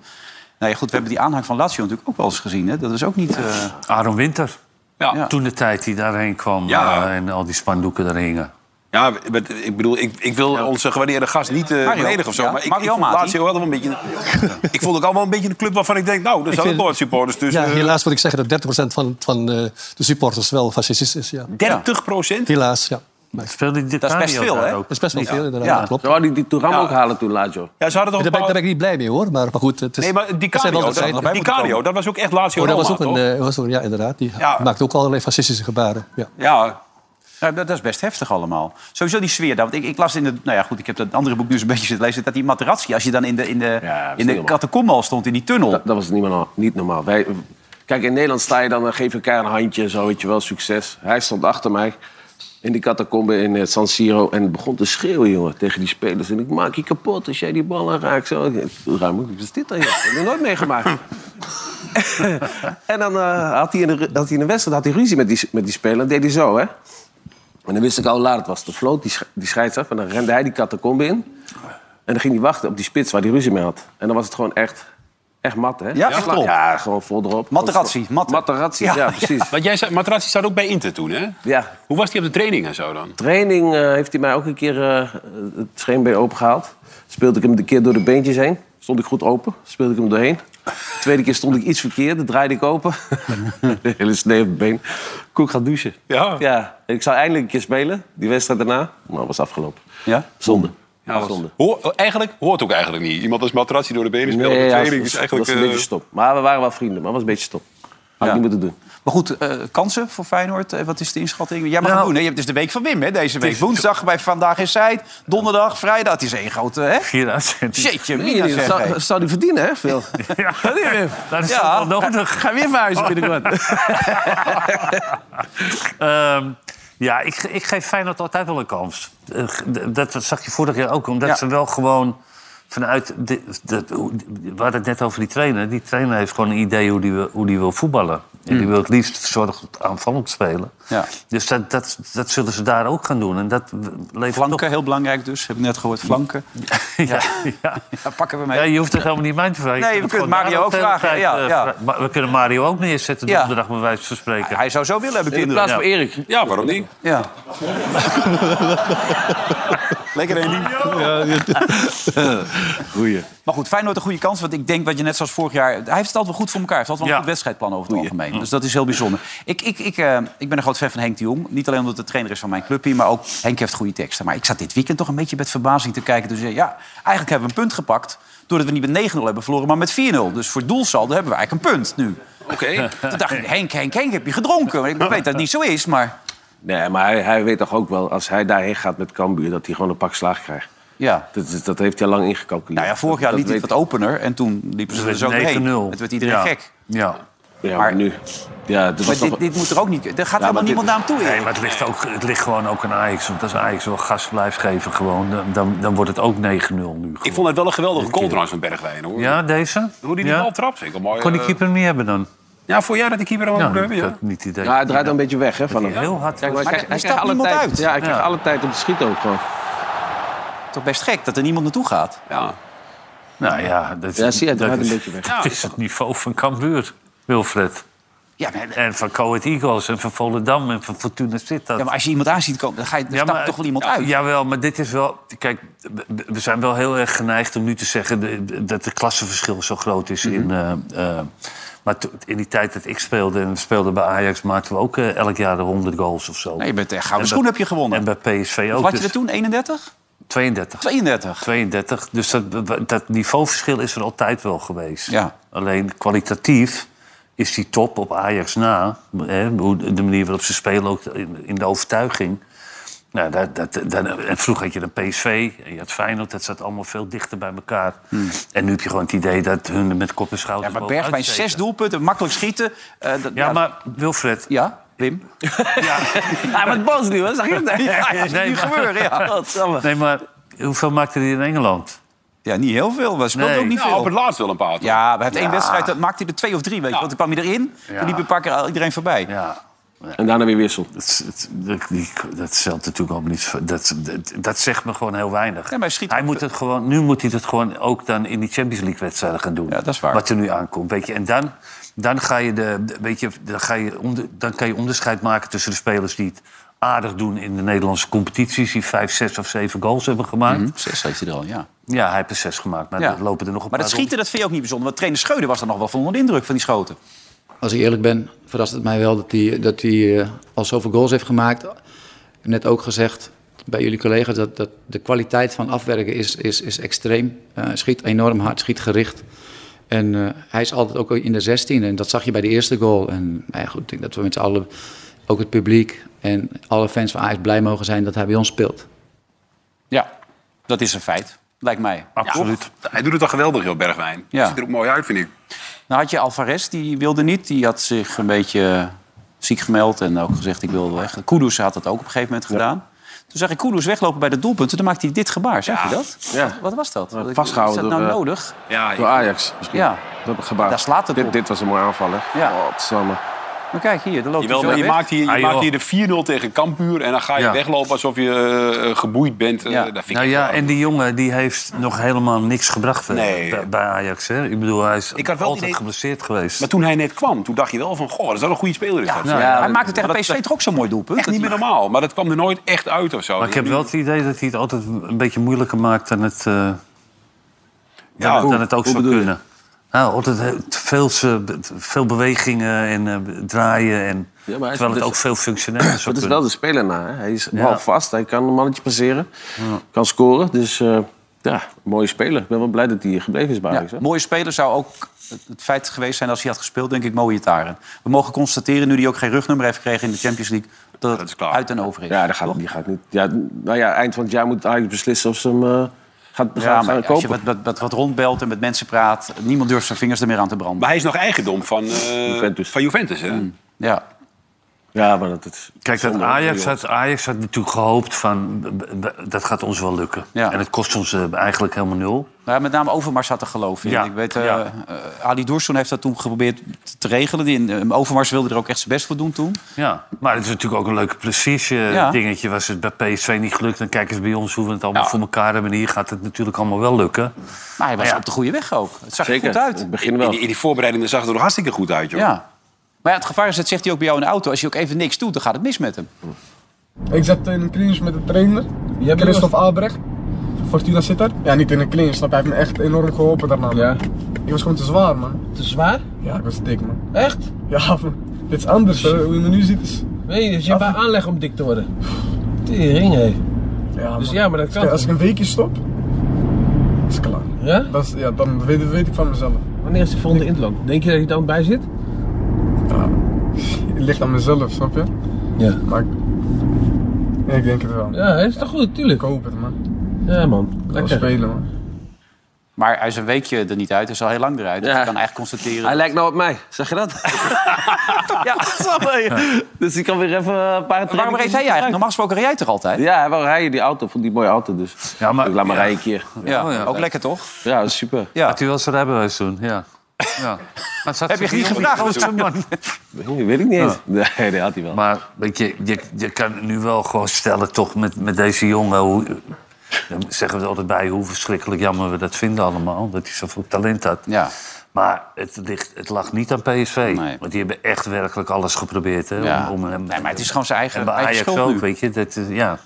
Speaker 1: Nou ja, goed, we hebben die aanhang van Lazio natuurlijk ook wel eens gezien. Hè? Dat is ook niet... eh,
Speaker 2: Aaron Winter.
Speaker 1: Ja.
Speaker 2: Toen de tijd die daarheen kwam
Speaker 4: Ja.
Speaker 2: eh, en al die spandoeken daar hingen.
Speaker 4: Ja, maar ik bedoel, ik, ik wil onze gewaardeerde gast niet eh
Speaker 1: Mario.
Speaker 4: beledigen of zo.
Speaker 1: Ja,
Speaker 4: Maar ik,
Speaker 1: Mario
Speaker 4: ik vond
Speaker 1: Mati.
Speaker 4: Lazio wel een beetje... ik vond het allemaal een beetje een club waarvan ik denk... nou, er
Speaker 5: Ik
Speaker 4: zijn
Speaker 5: vind-
Speaker 4: Noord supporters tussen.
Speaker 5: Ja,
Speaker 4: eh,
Speaker 5: helaas moet ik zeggen dat 30% van, van eh, de supporters wel fascistisch is. Ja.
Speaker 4: 30 procent?
Speaker 5: Helaas, ja.
Speaker 2: Speelde die
Speaker 1: Dat is best veel, hè?
Speaker 5: Dat is best wel veel, inderdaad.
Speaker 1: Ja.
Speaker 5: Ja. Klopt.
Speaker 3: Zou die, die Touram ook halen toen, Lazio?
Speaker 4: Ja, ze
Speaker 5: Daar
Speaker 4: hadden toch
Speaker 5: ben, ik-
Speaker 4: een
Speaker 5: daar
Speaker 4: paar...
Speaker 5: ben ik niet blij mee, hoor. Maar, maar goed, het is...
Speaker 4: Nee, maar
Speaker 5: dat zijn
Speaker 4: Dicario,
Speaker 5: wel de
Speaker 4: dat,
Speaker 5: zijden.
Speaker 4: dat- Dicario, dat was ook echt Lazio
Speaker 5: Oh, dat was ook
Speaker 4: Roma,
Speaker 5: een...
Speaker 4: toch?
Speaker 5: eh, was ook- ja, inderdaad. Die
Speaker 4: Ja.
Speaker 5: maakt ook allerlei fascistische gebaren. Ja.
Speaker 4: Ja,
Speaker 1: Ja, Nou, dat, dat is best heftig allemaal. Sowieso die sfeer daar. Want ik, ik las in het... Nou ja, goed, ik heb dat andere boek nu zo'n beetje zitten lezen... dat die Materazzi, als je dan in de, in de,
Speaker 3: dat is
Speaker 1: in
Speaker 3: niet
Speaker 1: de
Speaker 3: normaal.
Speaker 1: catacombe al stond, in die tunnel...
Speaker 3: Dat, dat was niet normaal. Niet normaal. Wij, kijk, in Nederland sta je dan, dan geef je elkaar een handje en zo, weet je wel, succes. Hij stond achter mij in die catacombe in eh, San Siro en begon te schreeuwen, jongen, tegen die spelers. En ik maak je kapot als jij die bal aanraakt. Zo, Ik- ruim, wat is dit dan, joh? Dat heb ik nooit meegemaakt. en dan eh, had, hij in de, ru- had hij in de wedstrijd had hij ruzie met die, met die speler. Dat deed hij zo, hè. En dan wist ik al hoe laat het was. De vloot die, sch- die scheids af en dan rende hij die catacombe in. En dan ging hij wachten op die spits waar hij ruzie mee had. En dan was het gewoon echt, echt mat, hè?
Speaker 1: Ja, echt erop.
Speaker 3: Ja, gewoon vol erop.
Speaker 1: Materazzi, Matte.
Speaker 3: Materazzi, ja,
Speaker 1: Ja,
Speaker 3: precies.
Speaker 4: Want jij zei, Materazzi staat ook bij Inter toen, hè?
Speaker 3: Ja.
Speaker 4: Hoe was die op de training en zo dan?
Speaker 3: Training eh, heeft hij mij ook een keer eh, het scheenbeen opengehaald. Speelde ik hem een keer door de beentjes heen. Stond ik goed open, speelde ik hem doorheen. De tweede keer stond ik iets verkeerd, dat draaide ik open. de hele snee op het been. Koek gaat douchen.
Speaker 4: Ja.
Speaker 3: Ja, ik zou eindelijk een keer spelen, die wedstrijd daarna. Maar dat was afgelopen.
Speaker 1: Ja?
Speaker 3: Zonde. Ja,
Speaker 4: was-
Speaker 3: zonde.
Speaker 4: Hoor, eigenlijk hoort ook eigenlijk niet. Iemand als Materazzi door de benen speelt op de
Speaker 3: ja,
Speaker 4: training
Speaker 3: was-
Speaker 4: is eigenlijk...
Speaker 3: was een beetje
Speaker 4: eh,
Speaker 3: stop. Maar we waren wel vrienden, maar was een beetje stop. Had ik niet moeten doen.
Speaker 1: Maar goed, eh, kansen voor Feyenoord. Eh, wat is de inschatting? Jij mag het doen. Hè? Je hebt- Het is de week van Wim, hè? Deze week. Woensdag bij Vandaag is Zijt. Donderdag, vrijdag. Het is één grote... Hè?
Speaker 2: Vier uitzendingen.
Speaker 1: Shitje, mina zeg, hé.
Speaker 3: zou, zou die verdienen, hè, veel?
Speaker 2: Ja, dat is
Speaker 1: Ja.
Speaker 2: wel nodig.
Speaker 3: Ga weer verhuizen binnenkort.
Speaker 2: Ehm, ja, ik, ge- ik geef Feyenoord altijd wel een kans. Eh, g- Dat, dat zag je vorig jaar ook, omdat
Speaker 1: Ja.
Speaker 2: ze wel gewoon vanuit... De, de- hoe- we hadden het net over die trainer. Die trainer heeft gewoon een idee hoe die, wil- hoe die wil voetballen. En die wil het liefst verzorgd aanvallend spelen.
Speaker 1: Hmm. Ja.
Speaker 2: Dus dat, dat, dat zullen ze daar ook gaan doen. En dat levert
Speaker 1: Flanken, heel belangrijk dus. Heb ik net gehoord. Flanken.
Speaker 2: toch... Ja, ja.
Speaker 1: Daar pakken we mee.
Speaker 2: Ja, je hoeft het helemaal niet mij te vragen. Je
Speaker 1: Nee,
Speaker 2: kunt
Speaker 1: we
Speaker 2: het
Speaker 1: kunnen
Speaker 2: gewoon
Speaker 1: Mario
Speaker 2: daar
Speaker 1: ook
Speaker 2: de hele
Speaker 1: vragen,
Speaker 2: tijd,
Speaker 1: ja,
Speaker 2: eh,
Speaker 1: ja.
Speaker 2: vra- Maar we kunnen Mario ook neerzetten
Speaker 1: Ja.
Speaker 2: donderdag, bij wijze van spreken.
Speaker 1: Hij zou zo willen hebben,
Speaker 3: In
Speaker 1: kinderen.
Speaker 3: plaats van Erik.
Speaker 4: Ja, waarom niet?
Speaker 1: Ja. Lekker, Elie.
Speaker 3: Goeie.
Speaker 1: Maar goed, Feyenoord een goede kans. Want ik denk dat je net zoals vorig jaar... Hij heeft het altijd wel goed voor elkaar. Hij heeft altijd wel een
Speaker 2: Ja.
Speaker 1: goed wedstrijdplan over het algemeen. Dus dat is heel bijzonder. Ik, ik, ik, eh, ik ben een groot fan van Henk de Jong. Niet alleen omdat hij trainer is van mijn club hier... maar ook Henk heeft goede teksten. Maar ik zat dit weekend toch een beetje met verbazing te kijken. Dus eh, ja, eigenlijk hebben we een punt gepakt... doordat we niet met 9-0 hebben verloren, maar met 4-0. Dus voor doelsaldo hebben we eigenlijk een punt nu.
Speaker 4: Oké.
Speaker 1: Toen dacht ik, Henk, Henk, Henk, heb je gedronken? Maar Ik weet dat het niet zo is, maar...
Speaker 3: Nee, maar hij, hij weet toch ook wel, als hij daarheen gaat met Cambuur... dat hij gewoon een pak slaag krijgt.
Speaker 1: Ja.
Speaker 3: Dat, is- dat heeft hij al lang ingecalculeerd.
Speaker 1: Nou ja, vorig jaar
Speaker 3: Dat-
Speaker 1: liet
Speaker 3: dat
Speaker 1: hij het wat opener en toen liepen ze er
Speaker 2: Dus Het
Speaker 1: zo
Speaker 2: werd
Speaker 1: doorheen.
Speaker 2: 9-0.
Speaker 1: Het werd iedereen
Speaker 2: Ja.
Speaker 1: gek.
Speaker 2: Ja.
Speaker 3: weet- Ja,
Speaker 1: maar-
Speaker 3: maar nu... Ja, dat
Speaker 1: Maar
Speaker 3: was
Speaker 1: dit,
Speaker 3: toch-
Speaker 1: dit moet er ook niet... Er gaat
Speaker 3: Ja,
Speaker 1: helemaal
Speaker 3: maar dit-
Speaker 1: niemand naar hem toe,
Speaker 2: Nee,
Speaker 1: Erik.
Speaker 2: maar het ligt, ook, het ligt gewoon ook aan Ajax. Want als Ajax wel gas blijft geven, gewoon, dan- dan, dan wordt het ook 9-0 nu. gewoon.
Speaker 4: Ik vond het wel een geweldige goal trouwens van Bergwijn, hoor.
Speaker 2: Ja, deze?
Speaker 4: Hoe die die
Speaker 2: ja.
Speaker 4: bal trapt, vind ik wel mooi.
Speaker 2: Kon die
Speaker 4: eh,
Speaker 2: keeper hem niet hebben dan?
Speaker 4: Ja, voor jou dat de keeper hem
Speaker 2: Ja,
Speaker 4: ook hebben,
Speaker 2: ik
Speaker 4: ja.
Speaker 2: had niet het idee.
Speaker 3: Ja, hij draait dan een beetje weg, hè, van hem.
Speaker 2: Heel hard.
Speaker 3: Kijk, maar hij
Speaker 1: Maar
Speaker 3: krijgt-
Speaker 1: er
Speaker 3: hij
Speaker 1: stapt
Speaker 3: krijgt alle
Speaker 1: niemand
Speaker 3: tijd.
Speaker 1: uit.
Speaker 3: Ja, hij krijgt
Speaker 2: Ja.
Speaker 3: alle tijd om te schieten ook gewoon.
Speaker 1: Toch best gek dat er niemand naartoe gaat.
Speaker 4: ja.
Speaker 2: nou ja, dat,
Speaker 3: Ja, zie je, hij
Speaker 2: dat
Speaker 3: draait
Speaker 2: is,
Speaker 3: een beetje weg.
Speaker 2: dat is het niveau van Cambuur, Wilfred.
Speaker 1: Ja, maar,
Speaker 2: En van Coet Eagles en van Volendam en van Fortuna Sittard.
Speaker 1: ja, maar als je iemand aan ziet komen, dan, ga je, dan stapt toch wel iemand
Speaker 2: ja,
Speaker 1: uit.
Speaker 2: Jawel, maar dit is wel... Kijk, we- we zijn wel heel erg geneigd om nu te zeggen... de- dat de klassenverschil zo groot is
Speaker 1: Mhm.
Speaker 2: in... eh, eh, maar to- in die tijd dat ik speelde en we speelden bij Ajax... maakten we ook eh, elk jaar de 100 goals of zo.
Speaker 1: Nee, je bent echt gouden
Speaker 2: En
Speaker 1: schoen
Speaker 2: dat-
Speaker 1: heb je gewonnen.
Speaker 2: En bij PSV ook.
Speaker 1: Wat had je
Speaker 2: dus-
Speaker 1: er toen, 31?
Speaker 2: 32.
Speaker 1: 32.
Speaker 2: 32. Dus dat, dat niveauverschil is er altijd wel geweest.
Speaker 1: Ja.
Speaker 2: Alleen kwalitatief is die top op Ajax na. Hè, hoe- de manier waarop ze spelen, ook in, in de overtuiging. Nou, dat, dat, dat- en vroeger had je dan PSV, en je had Feyenoord. Dat zat allemaal veel dichter bij elkaar. En nu heb je gewoon het idee dat hun er met kop en schouders
Speaker 1: Hmm. Maar
Speaker 2: bovenuit
Speaker 1: Bergwijn,
Speaker 2: steken.
Speaker 1: zes doelpunten, makkelijk schieten. Eh, dat-
Speaker 2: Oh, Ja, maar Wilfred.
Speaker 1: Ja, Wim.
Speaker 6: Hij wordt boos nu, hè? Zag je dat?
Speaker 1: Ja, ja,
Speaker 6: Nee,
Speaker 1: nu
Speaker 6: maar-
Speaker 1: gebeuren, ja.
Speaker 6: Godsamme.
Speaker 2: Nee, maar hoeveel maakte hij in Engeland?
Speaker 1: Ja, niet heel veel. We speelden ook niet
Speaker 4: Nou,
Speaker 1: veel.
Speaker 4: op het laatst wel een paar. toch?
Speaker 1: Ja, bij het één
Speaker 4: Ja.
Speaker 1: wedstrijd dat maakte hij er twee of drie, weet je. Want toen kwam hij erin, toen liep een paar keer iedereen voorbij.
Speaker 2: Ja.
Speaker 3: En daarna weer wissel.
Speaker 2: Dat, dat, die- dat stelt natuurlijk allemaal niet. zo- Dat, dat, dat zegt me gewoon heel weinig.
Speaker 1: maar hij schiet
Speaker 2: hij moet het gewoon, nu moet hij het gewoon ook dan in die Champions League wedstrijden gaan doen.
Speaker 1: dat is waar.
Speaker 2: Wat er nu aankomt. Weet je. En dan, dan, ga je de, de- weet je, dan, ga je onder, dan kan je onderscheid maken tussen de spelers die het aardig doen in de Nederlandse competities. Die vijf, zes of zeven goals hebben gemaakt.
Speaker 4: Mhm.
Speaker 1: Zes heeft hij er al, ja.
Speaker 2: Ja, hij heeft er zes gemaakt. Maar
Speaker 1: Ja.
Speaker 2: er lopen er nog een
Speaker 1: Maar
Speaker 2: paar
Speaker 1: dat schieten, dat vind je ook niet bijzonder. Want trainer Scheuder was er nog wel van onder de indruk van die schoten.
Speaker 13: Als ik eerlijk ben, verrast het mij wel dat hij, dat hij eh, al zoveel goals heeft gemaakt. Net ook gezegd bij jullie collega's dat, dat de kwaliteit van afwerken is, is, is extreem. Eh schiet enorm hard, schiet gericht. En eh, hij is altijd ook in de 16 en dat zag je bij de eerste goal. En nou ja, goed, ik denk dat we met z'n allen, ook het publiek en alle fans van Ajax blij mogen zijn dat hij bij ons speelt.
Speaker 1: Ja, dat is een feit, lijkt mij.
Speaker 4: Absoluut. Hij doet het toch geweldig, joh, Bergwijn.
Speaker 1: Ja.
Speaker 4: Ziet er ook mooi uit, vind ik.
Speaker 1: Nou had je Alvarez, die wilde niet. Die had zich een beetje eh, ziek gemeld en ook gezegd ik wil weg. Kudus had dat ook op een gegeven moment gedaan. Toen zag ik Kudus weglopen bij de doelpunten. Toen maakte hij dit gebaar, zag je dat?
Speaker 3: Ja.
Speaker 1: Wat was dat?
Speaker 3: Vastgehouden
Speaker 1: Is dat nou
Speaker 3: door, eh,
Speaker 1: nodig?
Speaker 4: Ja,
Speaker 3: Door Ajax misschien.
Speaker 1: Ja.
Speaker 3: Dat gebaar.
Speaker 1: Daar slaat het
Speaker 3: dit,
Speaker 1: op.
Speaker 3: dit was een mooi aanval, hè?
Speaker 1: Ja.
Speaker 3: Godsamme.
Speaker 1: Maar kijk hier, daar loopt
Speaker 4: Jawel,
Speaker 1: hij
Speaker 4: maar
Speaker 1: zo
Speaker 4: je
Speaker 1: weg.
Speaker 4: maakt hier, je
Speaker 1: Ah, joh.
Speaker 4: maakt hier de 4-0 tegen Kampuur... en dan ga je
Speaker 2: Ja.
Speaker 4: weglopen alsof je eh, geboeid bent. Eh, dat vind
Speaker 2: nou
Speaker 4: ik
Speaker 2: ja,
Speaker 4: wel-
Speaker 2: en die jongen die heeft nog helemaal niks gebracht eh,
Speaker 4: Nee.
Speaker 2: bij, bij Ajax. Hè? Ik bedoel, hij is
Speaker 4: Ik had wel
Speaker 2: altijd
Speaker 4: het idee-
Speaker 2: geblesseerd geweest.
Speaker 4: Maar toen hij net kwam, toen dacht je wel van... goh, dat is wel een goede speler. Is dat.
Speaker 2: nou, ja,
Speaker 1: hij maakte tegen
Speaker 4: Maar dat-
Speaker 1: PSV toch ook zo'n mooi doelpunt?
Speaker 4: Echt niet meer normaal, maar dat kwam er nooit echt uit of zo.
Speaker 2: Maar ik heb wel het idee dat hij het altijd een beetje moeilijker maakt dan het, eh, dan,
Speaker 4: Ja,
Speaker 2: het-
Speaker 4: hoe-
Speaker 2: dan het ook
Speaker 4: hoe
Speaker 2: zou
Speaker 4: bedoel je?
Speaker 2: kunnen. Nou, altijd heel- veel, ze- veel bewegingen en eh, draaien. En,
Speaker 3: Ja, maar hij is-
Speaker 2: terwijl het
Speaker 3: dus-
Speaker 2: ook veel functioneler zou
Speaker 3: Dat is
Speaker 2: kunnen.
Speaker 3: wel de speler na. Hè? Hij is
Speaker 2: Ja.
Speaker 3: half vast, hij kan een mannetje passeren, kan scoren. Dus eh, ja, mooie speler. Ik ben wel blij dat hij gebleven is bij
Speaker 1: Ja,
Speaker 3: Ajax. hè.
Speaker 1: mooie speler zou ook het- het feit geweest zijn als hij had gespeeld, denk ik, Moïtaren. We mogen constateren, nu hij ook geen rugnummer heeft gekregen in de Champions League, dat het uit en over is.
Speaker 3: Ja, dat gaat, die gaat niet. Ja, nou ja, eind van het jaar moet Ajax beslissen of ze hem eh, gaat,
Speaker 1: Ja,
Speaker 3: gaan,
Speaker 1: maar
Speaker 3: gaan
Speaker 1: als je
Speaker 3: kopen.
Speaker 1: wat, wat, wat, wat rondbelt en met mensen praat, niemand durft zijn vingers er meer aan te branden.
Speaker 4: Maar hij is nog eigendom van eh, van Juventus Mm. hè?
Speaker 1: Ja.
Speaker 3: Ja, maar dat is...
Speaker 2: Kijk, dat
Speaker 3: Zonde,
Speaker 2: Ajax
Speaker 3: joh.
Speaker 2: had, Ajax had natuurlijk gehoopt van... b- b- dat gaat ons wel lukken.
Speaker 1: Ja.
Speaker 2: En het kost ons eh, eigenlijk helemaal nul.
Speaker 1: Nou, met name Overmars had er geloof in.
Speaker 2: Ja,
Speaker 1: Ik weet, eh,
Speaker 2: ja.
Speaker 1: eh, Ali Doersoen heeft dat toen geprobeerd te regelen. Die, eh, Overmars wilde er ook echt zijn best voor doen toen.
Speaker 2: Ja, maar het is natuurlijk ook een leuke prestige eh,
Speaker 1: Ja.
Speaker 2: dingetje. Was het bij PSV niet gelukt, dan kijken ze bij ons hoe we het allemaal voor elkaar hebben. En hier gaat het natuurlijk allemaal wel lukken.
Speaker 1: Maar hij was
Speaker 2: Ja.
Speaker 1: op de goede weg ook. Het zag
Speaker 3: Zeker,
Speaker 1: er goed uit.
Speaker 3: het begin wel.
Speaker 4: In, in die voorbereidingen zag het er nog hartstikke goed uit, joh.
Speaker 1: Ja. Maar ja, het gevaar is, dat zegt hij ook bij jou in de auto. Als je ook even niks doet, dan gaat het mis met hem.
Speaker 14: Ik zat in een clinch met de trainer, Christophe Albrecht. Fortuna Sitter. Ja, niet in een clinch, snap je? Hij heeft me echt enorm geholpen daarna. man. Ik was gewoon te zwaar, man. Te zwaar? Ja, ik was dik, man. Echt? Ja, man. Dit is anders, hè. hoe je me nu ziet is...
Speaker 15: Nee, dus je hebt een aanleg om dik te worden. Tering, hé. Dus ja, maar dat kan
Speaker 14: Kijk, Als ik
Speaker 15: toch?
Speaker 14: een weekje stop, is het klaar. Ja? Dat is, ja, dan weet, weet ik van mezelf.
Speaker 15: Wanneer is de volgende inland? Denk je dat je dan bij zit?
Speaker 14: Ja, het ligt aan mezelf, snap je?
Speaker 15: Ja.
Speaker 14: Maar ik, ja, ik denk het wel.
Speaker 15: Ja, is toch goed, tuurlijk.
Speaker 14: Ik hoop het, man.
Speaker 15: Ja, man.
Speaker 14: Ik wil
Speaker 15: Lekker.
Speaker 14: spelen, man.
Speaker 1: Maar hij is een weekje er niet uit. Hij is al heel lang eruit. Dus ik kan eigenlijk constateren...
Speaker 3: Hij lijkt nou op mij, zeg je dat?
Speaker 1: Ja,
Speaker 3: dus ik kan weer even een paar
Speaker 1: Waarom reed hij eigenlijk? Normaal gesproken reed jij toch altijd?
Speaker 3: Ja, waarom rij je die auto? Vond die mooie auto dus. Ja, maar, ik laat maar rijden een keer.
Speaker 1: Oh Ja, ook lekker toch?
Speaker 3: Ja, dat is super.
Speaker 1: Ja.
Speaker 2: Had u wel zijn rijbewijs toen, ja. ja. Maar zat
Speaker 1: Heb je
Speaker 2: ze
Speaker 1: niet
Speaker 2: op die
Speaker 1: gevraagd?
Speaker 2: auto, man?
Speaker 3: Weet ik niet eens. Nee, dat had hij wel.
Speaker 2: Maar weet je, je, je kan nu wel gewoon stellen toch met, met deze jongen... Hoe, dan zeggen we er altijd bij hoe verschrikkelijk jammer we dat vinden allemaal. Dat hij zoveel talent had.
Speaker 1: Ja.
Speaker 2: Maar het, ligt, het lag niet aan PSV. Want die hebben echt werkelijk alles geprobeerd. Hè,
Speaker 1: Ja.
Speaker 2: om, om hem,
Speaker 1: Nee, maar het is gewoon zijn eigen,
Speaker 2: en bij
Speaker 1: eigen
Speaker 2: Ajax
Speaker 1: schuld
Speaker 2: ook,
Speaker 1: nu.
Speaker 2: weet je. Dat, eh, ja.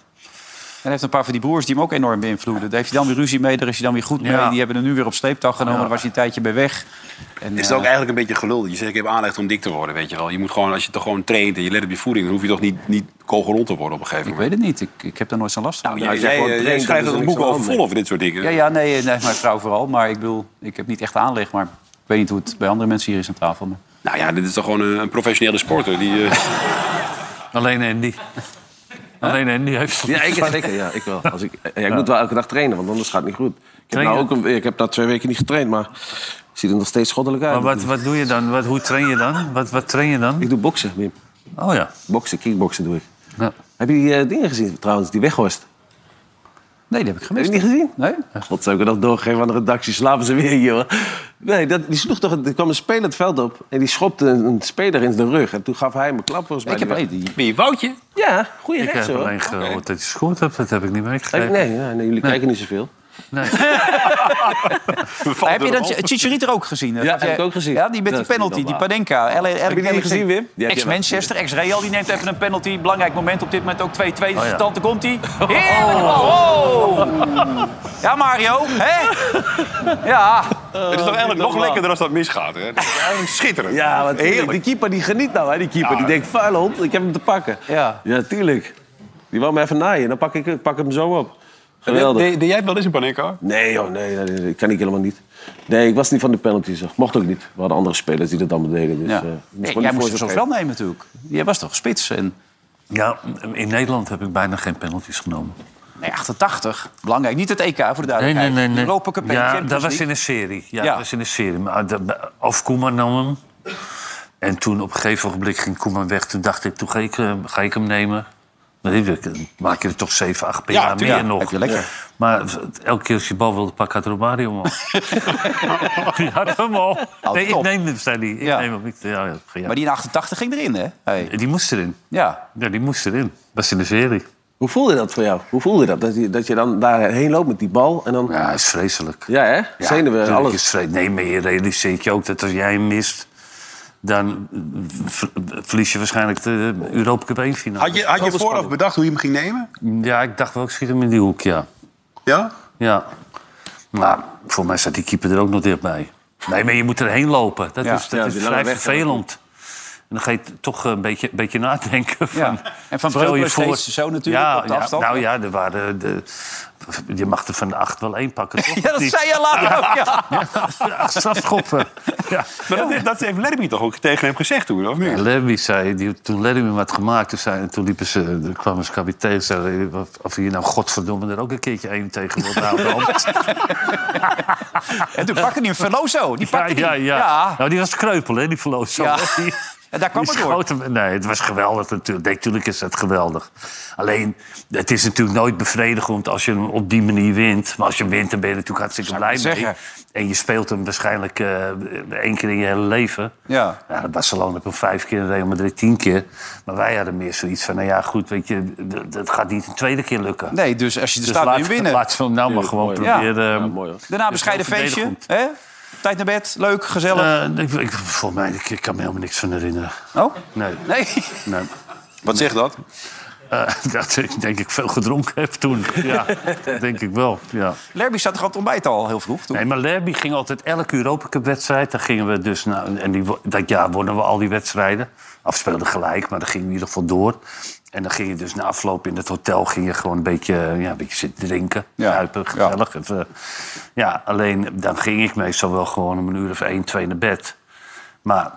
Speaker 1: hij heeft een paar van die broers die hem ook enorm beïnvloeden. Daar heeft hij dan weer ruzie mee, daar is hij dan weer goed mee.
Speaker 4: Ja.
Speaker 1: Die hebben hem nu weer op sleeptouw genomen, daar was hij een tijdje bij weg. En,
Speaker 4: Is het
Speaker 1: eh,
Speaker 4: ook eigenlijk een beetje gelul? Je zegt, ik heb aanleg om dik te worden, weet je wel. Je moet gewoon, als je toch gewoon traint en je let op je voeding... dan hoef je toch niet, niet kogelrond te worden op een gegeven
Speaker 1: Ik
Speaker 4: moment.
Speaker 1: weet het niet, ik, ik heb daar nooit zo'n last van.
Speaker 4: Nou, jij, jij, eh, jij schrijft er een boek over vol over dit soort dingen.
Speaker 1: Ja, ja nee, eh, nee, mijn vrouw vooral. Maar ik bedoel, ik heb niet echt aanleg. Maar ik weet niet hoe het bij andere mensen hier is aan tafel. Maar...
Speaker 4: Nou ja, dit is toch gewoon een, een professionele sporter. Die, eh,
Speaker 2: Alleen Andy. Alleen Andy heeft
Speaker 3: Ja, ik, zeker, ja, ik wel. Als ik, ja, ik
Speaker 2: Ja.
Speaker 3: moet wel elke dag trainen, want anders gaat het niet goed. Ik heb,
Speaker 2: Trainen?
Speaker 3: nou ook een, ik heb daar twee weken niet getraind, maar ziet er nog steeds schoddelijk uit.
Speaker 2: Maar wat, wat doe je dan? Wat, hoe train je dan? Wat, wat train je dan?
Speaker 3: Ik doe boksen, Wim.
Speaker 2: Oh ja.
Speaker 3: Boksen, kickboksen doe ik. Heb je die eh, dingen gezien trouwens, die weghorst?
Speaker 1: Nee, die heb ik gemist.
Speaker 3: Heb je die niet
Speaker 1: gezien?
Speaker 3: Nee. God, zou ik het nog doorgeven aan de redactie? Slapen ze weer hier, hoor. Nee, dat, die sloeg toch... Er kwam een speler het veld op en die schopte een, een speler in de rug. En toen gaf hij hem een klap, volgens mij.
Speaker 2: Ik heb
Speaker 3: Die-
Speaker 2: alleen die- Wie, Woutje?
Speaker 3: Ja, goede
Speaker 2: Ik eh,
Speaker 3: rechts,
Speaker 2: heb
Speaker 3: hoor.
Speaker 2: alleen gehoord dat hij gescoord hebt. Dat heb ik niet meegekregen.
Speaker 3: Nee, ja, nee, jullie
Speaker 2: Nee.
Speaker 3: kijken niet zoveel.
Speaker 1: Maar heb
Speaker 3: door
Speaker 1: je dat
Speaker 3: de hand.
Speaker 1: Chicharito ook gezien?
Speaker 3: Ja,
Speaker 1: Gaf
Speaker 3: heb
Speaker 1: jij-
Speaker 3: ik ook gezien.
Speaker 1: Ja, die
Speaker 3: Dat
Speaker 1: met die
Speaker 3: is niet
Speaker 1: penalty, die
Speaker 3: normaal. Oh,
Speaker 1: Panenka. L-
Speaker 3: Heb je die niet gezien, Wim? Die heb je wel
Speaker 1: Ex-Manchester, ex-Real, die neemt even een penalty. Belangrijk moment op dit moment, ook 2-2. Dus
Speaker 2: Oh, ja.
Speaker 1: de tante komt hij. Heerlijke bal. Oh. Ja, Mario, hè? Ja.
Speaker 3: Dus,
Speaker 4: het is toch eigenlijk nog lekkerder als dat misgaat, hè? Dat is eigenlijk schitterend.
Speaker 3: Ja, want
Speaker 4: Heerlijk.
Speaker 3: die keeper die geniet nou, hè, die keeper.
Speaker 4: Ja.
Speaker 3: Die denkt, vuile hond, ik heb hem te pakken.
Speaker 1: Ja.
Speaker 3: Ja, tuurlijk. Die wou me even naaien, dan pak ik, ik pak hem zo op. Geweldig.
Speaker 4: Deed deed jij het wel eens in Panenka?
Speaker 3: Nee, joh, nee, nee, nee, ik kan ik helemaal niet. Nee, ik was niet van de penalties. hoor. Mocht ook niet. We hadden andere spelers die dat allemaal deden. Dus,
Speaker 1: Ja.
Speaker 3: eh, ik moest
Speaker 1: Nee,
Speaker 3: gewoon
Speaker 1: jij
Speaker 3: die
Speaker 1: moest
Speaker 3: voorzet
Speaker 1: het soms wel
Speaker 3: geven.
Speaker 1: nemen natuurlijk. Jij was toch spits? En...
Speaker 2: Ja, in Nederland heb ik bijna geen penalties genomen.
Speaker 1: Nee, 88. Belangrijk. Niet het EK voor de
Speaker 2: Nee, nee,
Speaker 1: duidelijkheid.
Speaker 2: nee. nee.
Speaker 1: Europa Cup en
Speaker 2: ja,
Speaker 1: Champions
Speaker 2: dat was
Speaker 1: League.
Speaker 2: in een serie. Ja,
Speaker 1: Ja.
Speaker 2: dat was in een serie. Maar dat- of Koeman nam hem. En toen op een gegeven ogenblik ging Koeman weg. Toen dacht ik, toen ga ik, eh, ga ik hem nemen. Dan heb ik- dan maak je er toch 7, 8 per
Speaker 1: Ja,
Speaker 2: jaar meer
Speaker 1: tuurlijk.
Speaker 2: nog.
Speaker 1: Heb je lekker.
Speaker 2: Maar elke keer als je bal wilde pakken, had Romario hem al. Die had hem al. Nee, ik
Speaker 1: top.
Speaker 2: neem hem, zei hij. Ik neem hem. Ik- ja, ja, ja.
Speaker 1: Maar die in 88 ging erin, hè?
Speaker 2: Die moest erin.
Speaker 1: Ja.
Speaker 2: ja, die moest erin. Was in de serie.
Speaker 3: Hoe voelde dat voor jou? Hoe voelde dat? Dat je, dat je dan daarheen loopt met die bal en dan...
Speaker 2: Ja, is vreselijk.
Speaker 3: Ja, hè? Zenuwen en
Speaker 2: natuurlijk
Speaker 3: alles.
Speaker 2: is vre- nee, maar je realiseert je ook dat als jij hem mist... dan eh, ver- verlies je waarschijnlijk de Europa Cup 1 finale.
Speaker 16: Had je, had je
Speaker 2: Zoveel
Speaker 16: vooraf bedacht hoe je hem ging nemen?
Speaker 2: spanning. Ja, ik dacht wel, ik schiet hem in die hoek, ja.
Speaker 16: Ja?
Speaker 2: Ja. Maar voor mij staat die keeper er ook nog dichtbij. Nee, maar je moet erheen lopen. Dat
Speaker 1: Ja.
Speaker 2: is, dat
Speaker 1: Ja,
Speaker 2: is
Speaker 1: die lange
Speaker 2: vrij
Speaker 1: weg, ja.
Speaker 2: vervelend. En dan ga je t- toch een beetje, een beetje nadenken. Van,
Speaker 1: Ja. En Van
Speaker 2: stel je
Speaker 1: Breukelen
Speaker 2: voor-
Speaker 1: steeds zo natuurlijk
Speaker 2: ja,
Speaker 1: op de
Speaker 2: ja,
Speaker 1: afstand.
Speaker 2: nou ja, er waren de, je mag er van de acht wel één pakken, toch?
Speaker 1: Ja, dat
Speaker 2: Die-
Speaker 1: zei je later ook, ja.
Speaker 2: Ja, strafschoppen. Ja.
Speaker 4: Maar dat, dat heeft Lerby toch ook tegen hem gezegd toen, of niet?
Speaker 2: En Lemmy zei, die, toen Lemmy hem had gemaakt, toen, zei, toen liepen ze, er kwam eens kapitein en zei, of, of hier nou godverdomme er ook een keertje één tegen wordt houden.
Speaker 1: En toen pakte hij een Veloso. Die
Speaker 2: Ja,
Speaker 1: pakte die.
Speaker 2: ja, ja. Nou, die was kreupel, hè, die Veloso.
Speaker 1: Ja.
Speaker 2: Die-
Speaker 1: En daar kwam
Speaker 2: die
Speaker 1: het door.
Speaker 2: schoot hem- Nee, het was geweldig natuurlijk. Nee, natuurlijk is het geweldig. Alleen, het is natuurlijk nooit bevredigend als je hem op die manier wint. Maar als je hem wint, dan ben je natuurlijk hartstikke blij mee.
Speaker 1: zeggen.
Speaker 2: En je speelt hem waarschijnlijk eh, één keer in je hele leven.
Speaker 1: Ja.
Speaker 2: Ja, Barcelona heeft hem vijf keer, Real Madrid tien keer. Maar wij hadden meer zoiets van, nou ja, goed, weet je... d- Dat gaat niet een tweede keer lukken.
Speaker 1: Nee, dus als je er
Speaker 2: Dus
Speaker 1: staat, wil je
Speaker 2: laat-
Speaker 1: hem winnen.
Speaker 2: Laat ze hem nou maar gewoon
Speaker 1: Ja.
Speaker 2: proberen... eh,
Speaker 1: Daarna bescheiden
Speaker 2: dus wel
Speaker 1: feestje.
Speaker 2: verdedigend.
Speaker 1: Hè? Tijd naar bed, leuk, gezellig.
Speaker 2: Eh, ik, ik, volgens mij, ik, ik kan me helemaal niks van herinneren.
Speaker 1: Oh?
Speaker 2: Nee.
Speaker 1: Nee?
Speaker 2: nee.
Speaker 4: Wat zegt dat?
Speaker 2: Eh, dat ik denk ik veel gedronken heb toen. Ja, dat denk ik wel. Ja.
Speaker 1: Lerby zat toch aan het ontbijt al heel vroeg? Toen?
Speaker 2: Nee, maar Lerby ging altijd elke Europa Cup wedstrijd. Daar gingen we dus nou, en die, wo- dat jaar wonnen we al die wedstrijden. Afspeelden gelijk, maar dan gingen we in ieder geval door. En dan ging je dus na afloop in het hotel ging je gewoon een beetje, ja, een beetje zitten drinken. Ja. gezellig. Ja. ja, alleen dan ging ik meestal wel gewoon om een uur of één, twee naar bed. Maar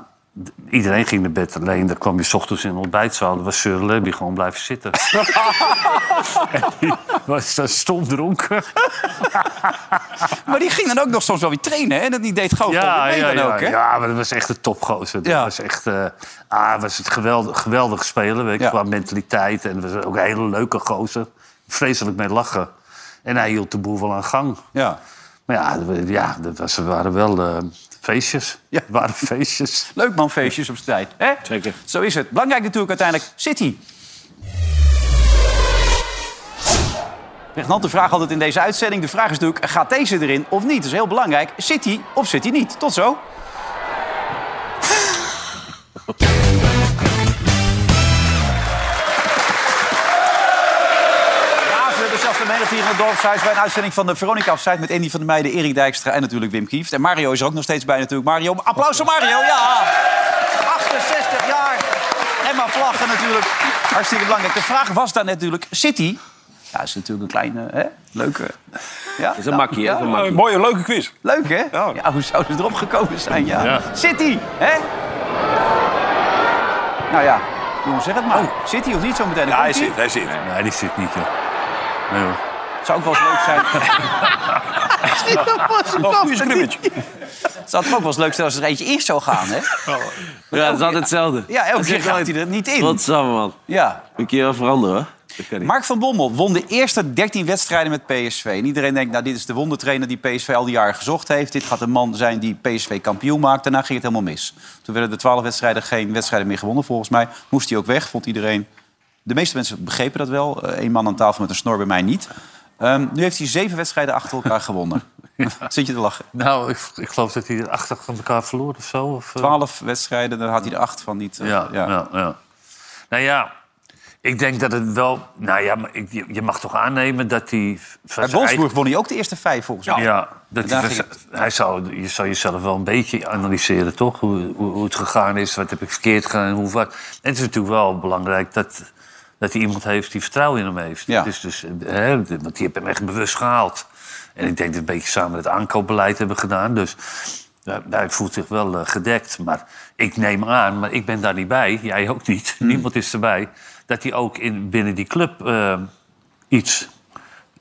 Speaker 2: d- iedereen ging naar bed. Alleen dan kwam je 's ochtends in de ontbijtzaal. Dan was Sir Lerby gewoon blijven zitten. en die was dan stom dronken.
Speaker 1: Maar die ging dan ook nog soms wel weer trainen. Hè? Dat die deed gewoon ja, mee dan ook. Hè?
Speaker 2: ja, maar dat was echt een topgozer. Dat was echt, eh ah, was het geweldig, geweldig spelen weet je, qua mentaliteit. En was ook een hele leuke gozer. Vreselijk mee lachen. En hij hield de boel wel aan gang.
Speaker 1: Ja.
Speaker 2: Maar ja, dat we- ja dat was, waren wel eh, feestjes. Het waren feestjes.
Speaker 1: Leuk man, feestjes op zijn tijd. Hè? Zeker. Zo is het. Belangrijk natuurlijk uiteindelijk City. Pregnante vraag altijd in deze uitzending. De vraag is natuurlijk, gaat deze erin of niet? Dat is heel belangrijk. City of City niet? Tot zo. Ja, ze hebben zelfs Vrijdagmiddag hier in het Dorpshuis bij een uitzending van de Veronica Offside... met Andy van der Meijden, Erik Dijkstra en natuurlijk Wim Kieft. En Mario is er ook nog steeds bij natuurlijk. Mario, applaus voor Mario, ja! 68 jaar en maar vlaggen natuurlijk. Hartstikke belangrijk. De vraag was daar natuurlijk, City... Ja, is natuurlijk een kleine, hè? leuke... Ja?
Speaker 3: is een makkie, hè? Is een
Speaker 4: Eh,
Speaker 3: makkie.
Speaker 1: Mooie, leuke quiz. Leuk, hè? Ja. hoe zou ze erop gekomen zijn, ja.
Speaker 3: Ja.
Speaker 1: City, hè? Nou ja, jongens, zeg het maar.
Speaker 3: Oh.
Speaker 1: City of niet zo meteen?
Speaker 2: Ja, hij zit, hij zit. Nee, die zit niet, joh. Nee, hoor.
Speaker 1: Zou ook wel eens leuk zijn. Is dit nog pas een Het zou toch ook wel eens leuk zijn als er eentje in zou gaan, hè?
Speaker 15: Ja, dat is altijd hetzelfde.
Speaker 1: Ja, elke
Speaker 15: Dat
Speaker 1: keer
Speaker 15: zegt
Speaker 1: gaat
Speaker 15: altijd,
Speaker 1: hij er niet in.
Speaker 15: Wat samen, man.
Speaker 1: Ja.
Speaker 15: Moet ik hier wel veranderen, hoor. Dat kan niet.
Speaker 1: Mark van Bommel won de eerste 13 wedstrijden met PSV. En iedereen denkt, nou, dit is de wondertrainer die PSV al die jaren gezocht heeft. Dit gaat een man zijn die PSV kampioen maakt. Daarna ging het helemaal mis. Toen werden de 12 wedstrijden geen wedstrijden meer gewonnen, volgens mij. Moest hij ook weg, vond iedereen. De meeste mensen begrepen dat wel. Eén man aan tafel met een snor, bij mij niet. Ehm, nu heeft hij zeven wedstrijden achter elkaar gewonnen. Zit je te lachen?
Speaker 2: Nou, ik, ik geloof dat hij er achter van elkaar verloor of zo. Of, eh.
Speaker 1: Twaalf wedstrijden, daar had hij er acht van niet. eh,
Speaker 2: Ja, ja. ja, Nou ja, ik denk dat het wel... Nou ja, maar ik- je, je mag toch aannemen dat hij... van
Speaker 1: Bij
Speaker 2: zijn
Speaker 1: Wolfsburg won hij ook de eerste vijf, volgens
Speaker 2: Ja,
Speaker 1: mij.
Speaker 2: dat
Speaker 1: Daar
Speaker 2: hij,
Speaker 1: ging het-
Speaker 2: hij zou, je zou jezelf wel een beetje analyseren, toch? Hoe, hoe, hoe het gegaan is, wat heb ik verkeerd gedaan en hoe wat. En het is natuurlijk wel belangrijk dat, dat hij iemand heeft die vertrouwen in hem heeft. Dus, dus, hè, de- want die hebben hem echt bewust gehaald. En ik denk dat we een beetje samen het aankoopbeleid hebben gedaan. Dus ja, hij voelt zich wel eh, gedekt. Maar ik neem aan, maar ik ben daar niet bij. Jij ook niet. Niemand is erbij. Dat hij ook in, binnen die club eh, iets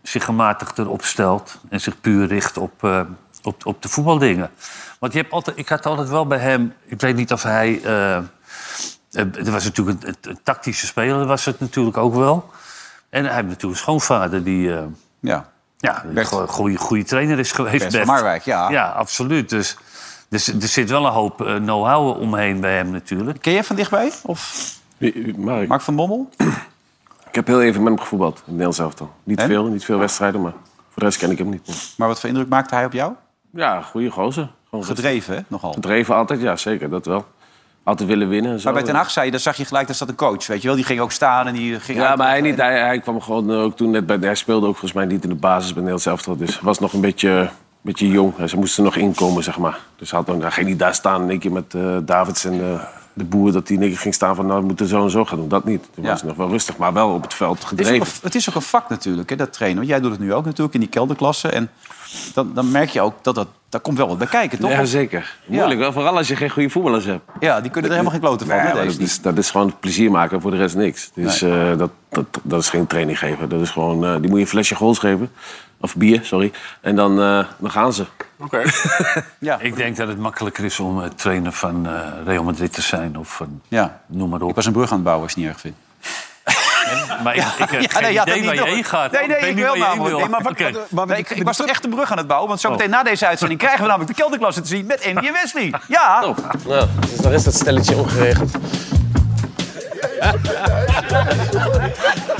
Speaker 2: zich gematigder opstelt en zich puur richt op, eh, op, op de voetbaldingen. Want je hebt altijd, ik had altijd wel bij hem, ik weet niet of hij. eh, eh, er was natuurlijk een, een- een tactische speler, was het natuurlijk ook wel. En hij heeft natuurlijk een schoonvader die. eh,
Speaker 1: ja.
Speaker 2: Ja, een go- goede, goede trainer is geweest.
Speaker 1: Bert van Marwijk, ja.
Speaker 2: Ja, absoluut. Dus, dus er zit wel een hoop eh, know-how omheen bij hem natuurlijk.
Speaker 1: Ken je van dichtbij? Of?
Speaker 3: Mark.
Speaker 1: van Bommel?
Speaker 3: Ik heb heel even met hem gevoetbald, in het Nederlands elftal. Niet
Speaker 1: En?
Speaker 3: veel, niet veel wedstrijden, maar voor de rest ken ik hem niet. nee.
Speaker 1: Maar wat voor indruk maakte hij op jou?
Speaker 3: Ja, goede gozer. Gewoon
Speaker 1: Gedreven, hè? Nogal.
Speaker 3: Gedreven altijd, ja, zeker, dat wel. Altijd willen winnen. en Zo.
Speaker 1: Maar bij Ten Hag zei je, daar zag je gelijk, daar zat een coach, weet je wel. Die ging ook staan en die ging...
Speaker 3: Ja,
Speaker 1: uit-
Speaker 3: maar hij niet. Hij, hij kwam gewoon eh, ook toen net bij... Hij speelde ook volgens mij niet in de basis bij Nederlands elftal. Dus hij was nog een beetje, beetje jong. Ze moesten er nog inkomen, zeg maar. Dus hij, had ook, hij ging niet daar staan in één keer met eh, Davids en eh, de boer... dat hij in één keer ging staan van, nou, we moeten zo en zo gaan doen. Dat niet. Toen
Speaker 1: Ja.
Speaker 3: was hij nog wel rustig, maar wel op het veld
Speaker 1: Het is, ook
Speaker 3: gedreven.
Speaker 1: een, het is ook een vak natuurlijk, hè, dat trainen. Want jij doet het nu ook natuurlijk in die kelderklasse. En dan, dan merk je ook dat dat... Daar komt wel wat bij kijken, toch?
Speaker 3: Ja, zeker.
Speaker 1: Ja.
Speaker 3: Moeilijk wel, vooral als je geen goede voetballers hebt.
Speaker 1: Ja, die kunnen er helemaal geen kloten van,
Speaker 3: Nee,
Speaker 1: hè,
Speaker 3: maar
Speaker 1: deze
Speaker 3: dat, is, dat is gewoon plezier maken en voor de rest niks. Dus eh, dat, dat, dat is geen training geven. Dat is gewoon, eh, die moet je een flesje goals geven. Of bier, sorry. En dan, eh, dan gaan ze.
Speaker 2: Ik denk dat het makkelijker is om eh, trainer van eh, Real Madrid te zijn of van
Speaker 1: Ja.
Speaker 2: Noem maar op. Ik
Speaker 1: was een brug aan het bouwen als je het niet erg vindt.
Speaker 2: Maar ik, ik heb geen
Speaker 1: nee, je had
Speaker 2: idee
Speaker 1: het
Speaker 2: waar
Speaker 1: niet
Speaker 2: je
Speaker 1: door.
Speaker 2: heen gaat.
Speaker 1: Nee, nee,
Speaker 2: weet
Speaker 1: ik
Speaker 2: niet
Speaker 1: wil
Speaker 2: waar je heen
Speaker 1: namelijk. Nee, maar wat-
Speaker 2: Oké.
Speaker 1: wat- maar ik, ik was toch echt een brug aan het bouwen.
Speaker 4: Oh.
Speaker 1: Want zo meteen na deze uitzending krijgen we namelijk de kelderklasse te zien met Andy en Wesley. Ja!
Speaker 4: Oh.
Speaker 15: Nou, dus daar is dat stelletje ongeregeld.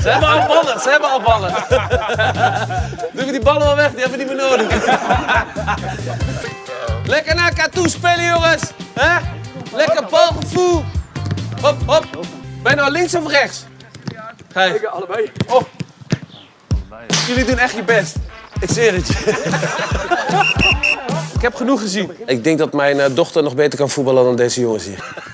Speaker 15: ze hebben al ballen, ze hebben al ballen. Doe we die ballen wel weg, die hebben we niet meer nodig. Lekker naar elkaar toe spelen, jongens. hè? Lekker balgevoel. Hop, hop. Ben je nou links of rechts? Lekker, allebei. Oh. Jullie doen echt je best. Ik zweer het je. Ik heb genoeg gezien. Ik denk dat mijn eh, dochter nog beter kan voetballen dan deze jongens hier.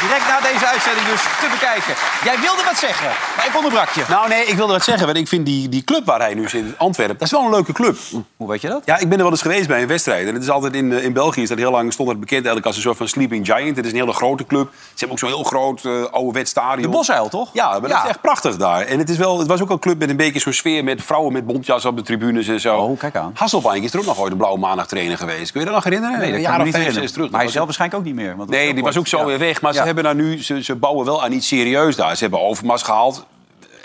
Speaker 1: Direct na deze uitzending dus te bekijken. Jij wilde wat zeggen, maar ik onderbrak je.
Speaker 4: Nou nee, ik wilde dat zeggen. Want ik vind die, die club waar hij nu zit, Antwerpen, dat is wel een leuke club.
Speaker 1: Hoe weet je dat?
Speaker 4: Ja, ik ben er wel eens geweest bij een wedstrijd. En het is altijd in, eh, in België is dat heel lang stond dat bekend eigenlijk als een soort van sleeping giant. Het is een hele grote club. Ze hebben ook zo'n heel groot eh ouderwets stadion. De
Speaker 1: Bosuil, toch?
Speaker 4: Ja, maar dat
Speaker 1: Ja.
Speaker 4: is echt prachtig daar. En het, is wel, het was ook een club met een beetje zo'n sfeer met vrouwen met bontjas op de tribunes en zo. Oh,
Speaker 1: kijk aan.
Speaker 4: Hasselbank is er ook nog ooit de Blauwe Maandag trainer geweest. Kun je dat nog herinneren?
Speaker 1: Nee, dat
Speaker 4: Een
Speaker 1: kan
Speaker 4: jaar
Speaker 1: ik me
Speaker 4: of
Speaker 1: niet
Speaker 4: vijf,
Speaker 1: herinneren.
Speaker 4: zes terug.
Speaker 1: Maar hij
Speaker 4: Dat was
Speaker 1: zelf waarschijnlijk ook niet meer. Want dat
Speaker 4: Nee, die was ook zo weer weg. Maar ze hebben daar nu, ze, ze bouwen wel aan iets serieus daar. Ze hebben Overmars gehaald.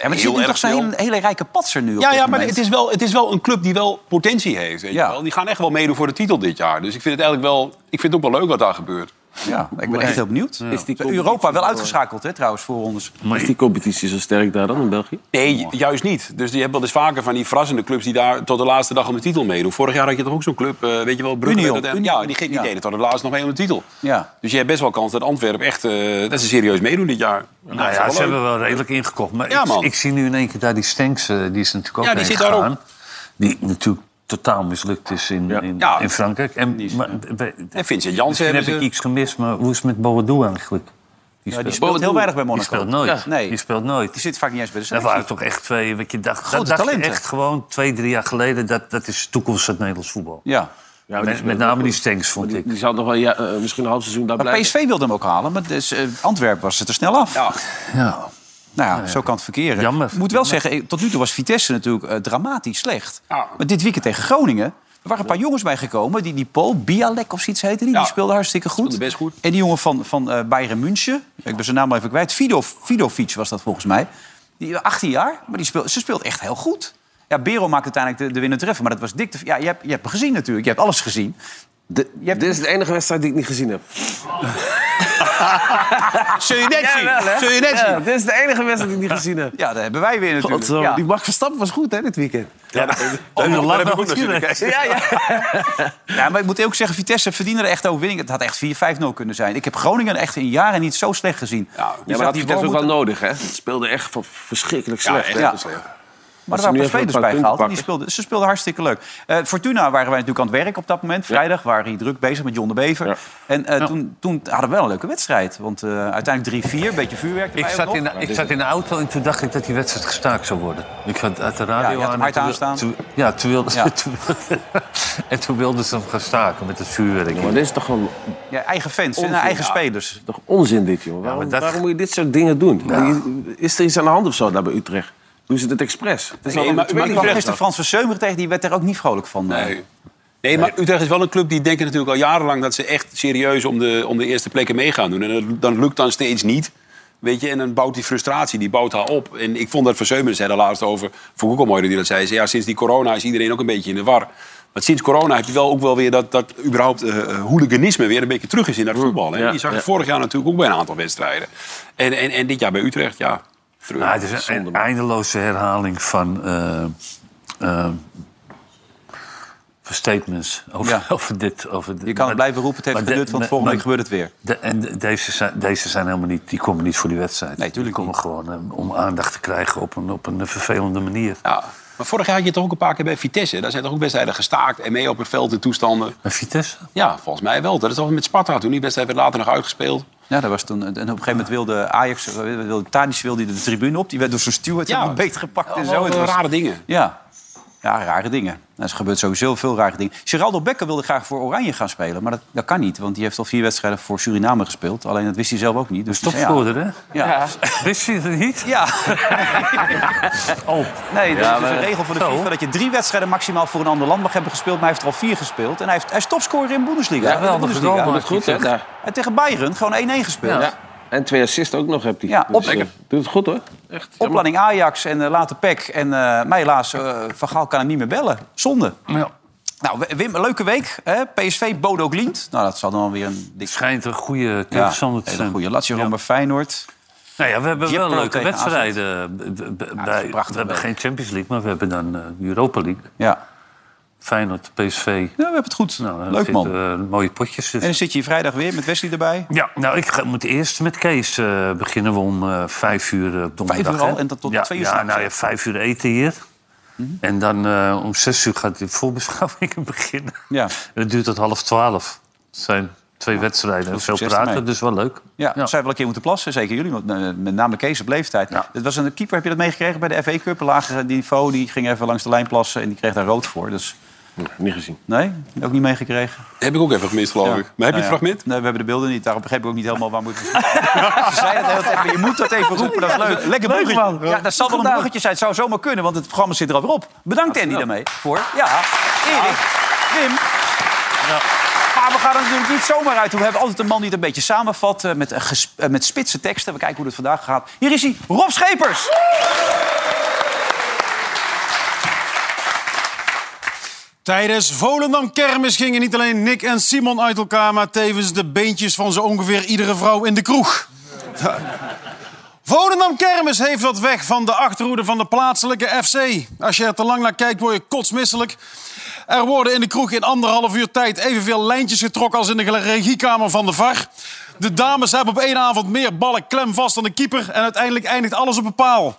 Speaker 1: Ja, maar er zit nu toch zo'n hele, hele rijke patser nu op
Speaker 4: Ja,
Speaker 1: dit
Speaker 4: ja, maar
Speaker 1: moment.
Speaker 4: het is, wel, het is wel een club die wel potentie heeft. Weet je wel. Die gaan echt wel meedoen voor de titel dit jaar. Dus ik vind het eigenlijk wel, ik vind het ook wel leuk wat daar gebeurt.
Speaker 1: Ja, ik ben echt heel benieuwd.
Speaker 3: Is die
Speaker 1: Europa wel uitgeschakeld, hè, trouwens, voor ons.
Speaker 3: Is die competitie zo sterk daar dan in België?
Speaker 4: Nee, ju- juist niet. Dus je hebt wel eens vaker van die verrassende clubs die daar tot de laatste dag om de titel meedoen. Vorig jaar had je toch ook zo'n club, eh, weet je wel, Brugge.
Speaker 1: Union.
Speaker 4: werd uiteindelijk- Ja, die, ging- die deden tot de laatste nog mee om de titel.
Speaker 1: Ja.
Speaker 4: Dus je hebt best wel kans dat Antwerpen echt, eh, dat ze serieus meedoen dit jaar.
Speaker 2: Nou ja, ze hebben wel redelijk ingekocht. Maar
Speaker 4: Ja,
Speaker 2: ik,
Speaker 4: man.
Speaker 2: ik zie nu in één keer daar die Stenks, eh, die is natuurlijk ook
Speaker 4: Ja, die
Speaker 2: heen
Speaker 4: zit daar ook.
Speaker 2: gegaan. Die natuurlijk totaal mislukt is in, in, in Frankrijk. En, maar, bij-
Speaker 4: En Vincent Janssen
Speaker 2: misschien Dus heb
Speaker 4: hebben
Speaker 2: ik
Speaker 4: ze-
Speaker 2: iets gemist, maar hoe is het met Boadou eigenlijk?
Speaker 1: Ja, die speelt heel weinig bij Monaco.
Speaker 2: Die speelt nooit.
Speaker 1: Ja. Nee.
Speaker 2: Die speelt nooit.
Speaker 1: Die zit vaak niet eens bij de
Speaker 2: Dat
Speaker 1: selectie.
Speaker 2: waren toch echt twee, wat je dacht,
Speaker 1: Grote
Speaker 2: dat dacht je
Speaker 1: talenten.
Speaker 2: echt gewoon twee, drie jaar geleden, dat, dat is de toekomst van het Nederlands voetbal.
Speaker 1: Ja.
Speaker 3: maar die
Speaker 2: met,
Speaker 3: speelt wel
Speaker 2: met name
Speaker 3: goed.
Speaker 2: die Stenks, vond ik.
Speaker 3: Die zou nog wel ja, eh, misschien een half seizoen daar
Speaker 1: Maar
Speaker 3: blijven.
Speaker 1: PSV wilde hem ook halen, maar dus, eh, Antwerpen was het er snel af. Ja.
Speaker 2: Ja.
Speaker 1: Nou ja, zo kan het verkeren. Ik moet wel zeggen, eh, tot nu toe was Vitesse natuurlijk eh, dramatisch slecht. Maar dit weekend tegen Groningen... Er waren een paar jongens bijgekomen. Die, die Paul Bialek of zoiets heette die. Die speelde hartstikke goed. best goed. En die jongen van, van eh, Bayern München. Ik ben zijn naam al even kwijt. Fido, Fidovic was dat volgens mij. Die, 18 jaar, maar die speelt, ze speelt echt heel goed. Ja, Bero maakt uiteindelijk de, de winnende treffer. Maar dat was dik. te- Ja, je hebt, je hebt hem gezien natuurlijk. Je hebt alles gezien.
Speaker 3: Dit is de enige wedstrijd die ik niet gezien heb.
Speaker 1: Zul je net zien? Zul je net zien?
Speaker 3: dit is de enige wedstrijd die ik niet gezien heb.
Speaker 1: Ah, Ja, dat hebben wij weer natuurlijk.
Speaker 3: Godverdomme,
Speaker 1: Ja.
Speaker 3: Die Max Verstappen was goed, hè, dit weekend.
Speaker 1: Ah.
Speaker 3: Oh,
Speaker 1: Ja, dat
Speaker 3: hebben we laat nog goed natuurlijk.
Speaker 1: Ja, ja. ja, maar ik moet ook zeggen, Vitesse verdiende er echt een overwinning. Het had echt 4-5-0 kunnen zijn. Ik heb Groningen echt in jaren niet zo slecht gezien. Ja,
Speaker 3: Ja, maar dat had Vitesse ook wel nodig, hè? Het speelde echt van- verschrikkelijk
Speaker 1: Ja,
Speaker 3: slecht.
Speaker 1: echt
Speaker 3: hè?
Speaker 1: heel
Speaker 3: Dus,
Speaker 1: slecht. Maar
Speaker 3: Als
Speaker 1: er
Speaker 3: ze
Speaker 1: waren
Speaker 3: nu
Speaker 1: een
Speaker 3: even
Speaker 1: paar spelers
Speaker 3: een paar
Speaker 1: bij gehaald.
Speaker 3: punten
Speaker 1: en Die speelden, ze speelden hartstikke leuk. Eh, Fortuna waren wij natuurlijk aan het werk op dat moment. Vrijdag waren we hier druk bezig met John de Bever. En eh, toen, toen hadden we wel een leuke wedstrijd. Want eh, uiteindelijk 3-4, een beetje vuurwerk
Speaker 2: Ik
Speaker 1: erbij ook
Speaker 2: zat, in de,
Speaker 1: nog.
Speaker 2: ik zat in de auto en toen dacht ik dat die wedstrijd gestaakt zou worden. Ik had uit de radio
Speaker 1: Ja, je had
Speaker 2: aan.
Speaker 1: hem
Speaker 2: en
Speaker 1: hard
Speaker 2: toen wil-
Speaker 1: aanstaan.
Speaker 2: toen- ja, toen wilden
Speaker 1: Ja.
Speaker 2: ze. toen- en toen wilden ze hem gaan staken met het vuurwerk.
Speaker 3: Maar dit is toch gewoon
Speaker 1: Ja, eigen fans en
Speaker 3: Onzin,
Speaker 1: eigen
Speaker 3: ja.
Speaker 1: spelers.
Speaker 3: toch onzin, dit, jongen. Waarom,
Speaker 2: maar dat-
Speaker 3: waarom moet je dit soort dingen doen? Is er iets aan de hand of zo daar bij Utrecht? Doen ze dit expres? Het is
Speaker 1: Nee,
Speaker 3: al- het
Speaker 1: maar ik
Speaker 3: maakt
Speaker 1: kwam
Speaker 3: niet
Speaker 1: gisteren
Speaker 3: uit.
Speaker 1: Frans van Seumer tegen. Die werd er ook niet vrolijk van. eh. Nee.
Speaker 4: Nee, maar Utrecht is wel een club die denken natuurlijk al jarenlang... dat ze echt serieus om de, om de eerste plekken mee gaan doen. En dat- dan lukt dan steeds niet. Weet je, en dan bouwt die frustratie, die bouwt haar op. En ik vond dat Van Seumen zei daar laatst over... vond ik ook al mooi dat hij dat zei. Hij zei, ja, sinds die corona is iedereen ook een beetje in de war. Maar sinds corona heb je wel ook wel weer dat, dat überhaupt eh, eh, hooliganisme weer een beetje terug is in dat voetbal. Hè?
Speaker 2: Mm. Ja,
Speaker 4: Die zag je
Speaker 2: ja.
Speaker 4: vorig jaar natuurlijk ook bij een aantal wedstrijden. En, en, en dit jaar bij Utrecht, ja. terug.
Speaker 2: Nou, het is een eindeloze herhaling van, eh, eh, van statements over,
Speaker 1: Ja.
Speaker 2: over dit. Over dit.
Speaker 1: Je kan het
Speaker 2: Maar-
Speaker 1: blijven roepen, het heeft
Speaker 2: maar de-
Speaker 1: gedut, want
Speaker 2: maar-
Speaker 1: volgende week
Speaker 2: maar-
Speaker 1: gebeurt het weer.
Speaker 2: de- en de- deze, zijn, deze zijn helemaal niet, die komen niet voor die wedstrijd. Nee, die komen gewoon eh, om aandacht te krijgen op een, op een vervelende manier.
Speaker 4: Ja. Maar vorig jaar had je toch ook een paar keer bij Vitesse. Daar zijn toch ook wedstrijden gestaakt en mee op het veld in toestanden.
Speaker 2: Bij Vitesse?
Speaker 4: Ja, volgens mij wel. Dat is toch met Sparta toen. Die wedstrijd werd later nog uitgespeeld.
Speaker 1: Ja, dat was toen. En op een gegeven moment wilde Ajax, eh, wilde Tadic wilde de tribune op. Die werd door zo'n steward
Speaker 4: Ja.
Speaker 1: ja. een beet gepakt en zo.
Speaker 4: Allemaal
Speaker 1: Het was-
Speaker 4: rare dingen.
Speaker 1: Ja. ja, rare dingen. Nou, er gebeurt sowieso veel rare dingen. Geraldo Becker wilde graag voor Oranje gaan spelen, maar dat, dat kan niet. Want die heeft al vier wedstrijden voor Suriname gespeeld. Alleen dat wist hij zelf ook niet. Dus die zei, ja.
Speaker 2: Topscorer, hè?
Speaker 1: Ja.
Speaker 2: Wist je het niet?
Speaker 1: Ja.
Speaker 2: oh.
Speaker 1: Nee, dat
Speaker 2: Ja,
Speaker 1: is dus een
Speaker 2: maar-
Speaker 1: regel van de
Speaker 2: Zo.
Speaker 1: FIFA dat je drie wedstrijden maximaal voor een ander land mag hebben gespeeld. Maar hij heeft er al vier gespeeld. En hij, heeft, hij is topscorer in de Bundesliga.
Speaker 3: Ja,
Speaker 1: In de
Speaker 3: geweldig
Speaker 1: Bundesliga.
Speaker 3: gedaan, maar goed, hè, daar.
Speaker 1: En tegen Bayern gewoon 1-1 gespeeld.
Speaker 3: Ja. En twee assists ook nog hebt hij.
Speaker 1: Ja, op-
Speaker 3: eh, Doet het goed, hoor. Echt.
Speaker 1: Opleiding Ajax en eh, later PEC. En eh, mij helaas, eh, Van Gaal kan hem niet meer bellen. Zonde. Nou, Wim, een leuke week. Hè? PSV, Bodo Glimt. Nou, dat zal dan weer een dik...
Speaker 2: Schijnt een goede tegenstander te
Speaker 1: hele
Speaker 2: zijn.
Speaker 1: goede. Lazio Roma Feyenoord.
Speaker 2: Nou ja, we hebben
Speaker 1: Jippo
Speaker 2: wel leuke
Speaker 1: tegen
Speaker 2: wedstrijden. eh, B- b- b- bij- we hebben geen Champions League, maar we hebben dan eh, Europa League.
Speaker 1: Ja.
Speaker 2: Feyenoord, PSV. Ja, we
Speaker 1: hebben het goed. Nou,
Speaker 2: Nou,
Speaker 1: Leuk, man.
Speaker 2: eh, mooie potjes.
Speaker 1: En dan zit je hier vrijdag weer met Wesley erbij.
Speaker 2: Ja, nou, ik ga- moet eerst met Kees eh, beginnen. We om eh, vijf uur eh, op donderdag.
Speaker 1: Vijf uur al
Speaker 2: hè?
Speaker 1: en tot- tot
Speaker 2: ja,
Speaker 1: twee uur
Speaker 2: Ja,
Speaker 1: s'nachts,
Speaker 2: nou
Speaker 1: hè? Mhm.
Speaker 2: ja, vijf uur eten hier. En dan eh, om zes uur gaat de voorbeschouwing beginnen.
Speaker 1: Ja. Ah,
Speaker 2: En dat duurt tot half twaalf. Het zijn twee wedstrijden en veel
Speaker 1: succes
Speaker 2: praten,
Speaker 1: ermee.
Speaker 2: dus wel leuk.
Speaker 1: Ja, zou je wel een keer moeten plassen, zeker jullie, want, eh, met name Kees op leeftijd. Het was een keeper, heb je dat meegekregen bij de FA Cup? Een lager niveau, die ging even langs de lijn plassen en die kreeg daar rood voor. Dus
Speaker 3: Niet gezien.
Speaker 1: nee, ook niet meegekregen.
Speaker 4: Heb ik ook even gemist, geloof ik.
Speaker 1: Ja.
Speaker 4: Maar heb je
Speaker 1: Nou
Speaker 4: het
Speaker 1: ja.
Speaker 4: fragment?
Speaker 1: Nee, we hebben de beelden niet. Daarom begreep ik ook niet helemaal waar moet ik Ze zeiden het de hele tijd, maar je moet dat even roepen, dat is leuk. Lekker bruggetje. Ja, dat zal wel een bruggetje zijn. Het zou zomaar kunnen, want het programma zit er alweer op. Bedankt Andy daarmee voor. Ja, Erik, Wim. Maar we gaan er natuurlijk niet zomaar uit. We hebben altijd een man die het een beetje samenvat eh, met, eh, ges- eh, met spitse teksten. We kijken hoe het vandaag gaat. Hier is hij, Rob Schepers.
Speaker 17: Tijdens Volendam Kermis gingen niet alleen Nick en Simon uit elkaar... maar tevens de beentjes van zo ongeveer iedere vrouw in de kroeg. Volendam Kermis heeft wat weg van de achterhoede van de plaatselijke FC. Als je er te lang naar kijkt, word je kotsmisselijk. Er worden in de kroeg in anderhalf uur tijd evenveel lijntjes getrokken... als in de regiekamer van de VAR. De dames hebben op één avond meer ballen klem vast dan de keeper... en uiteindelijk eindigt alles op een paal.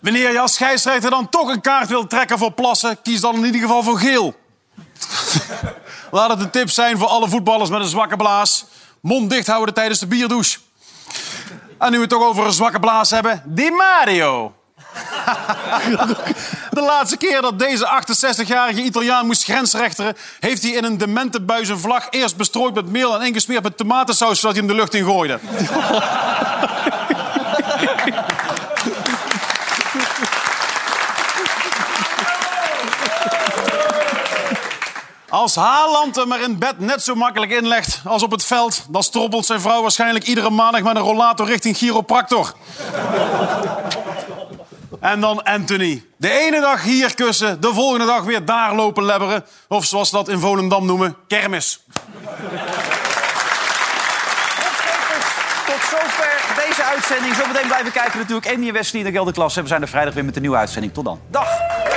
Speaker 17: Wanneer je als scheidsrechter dan toch een kaart wil trekken voor plassen... kies dan in ieder geval voor geel. Laat het een tip zijn voor alle voetballers met een zwakke blaas. Mond dicht houden tijdens de bierdouche. En nu we het toch over een zwakke blaas hebben... Di Mario. de laatste keer dat deze 68-jarige Italiaan moest grensrechteren... heeft hij in een demente buis een vlag eerst bestrooid met meel... en ingesmeerd met tomatensaus, zodat hij hem de lucht in gooide. Als Haaland hem er in bed net zo makkelijk inlegt als op het veld... dan stroppelt zijn vrouw waarschijnlijk iedere maandag met een rollator richting chiropractor. En dan Anthony. De ene dag hier kussen, de volgende dag weer daar lopen lebberen. Of zoals ze dat in Volendam noemen, kermis.
Speaker 1: Tot zover deze uitzending. Zometeen blijven kijken natuurlijk. En die Wesley in de Gelderklasse. We zijn er vrijdag weer met een nieuwe uitzending. Tot dan. Dag!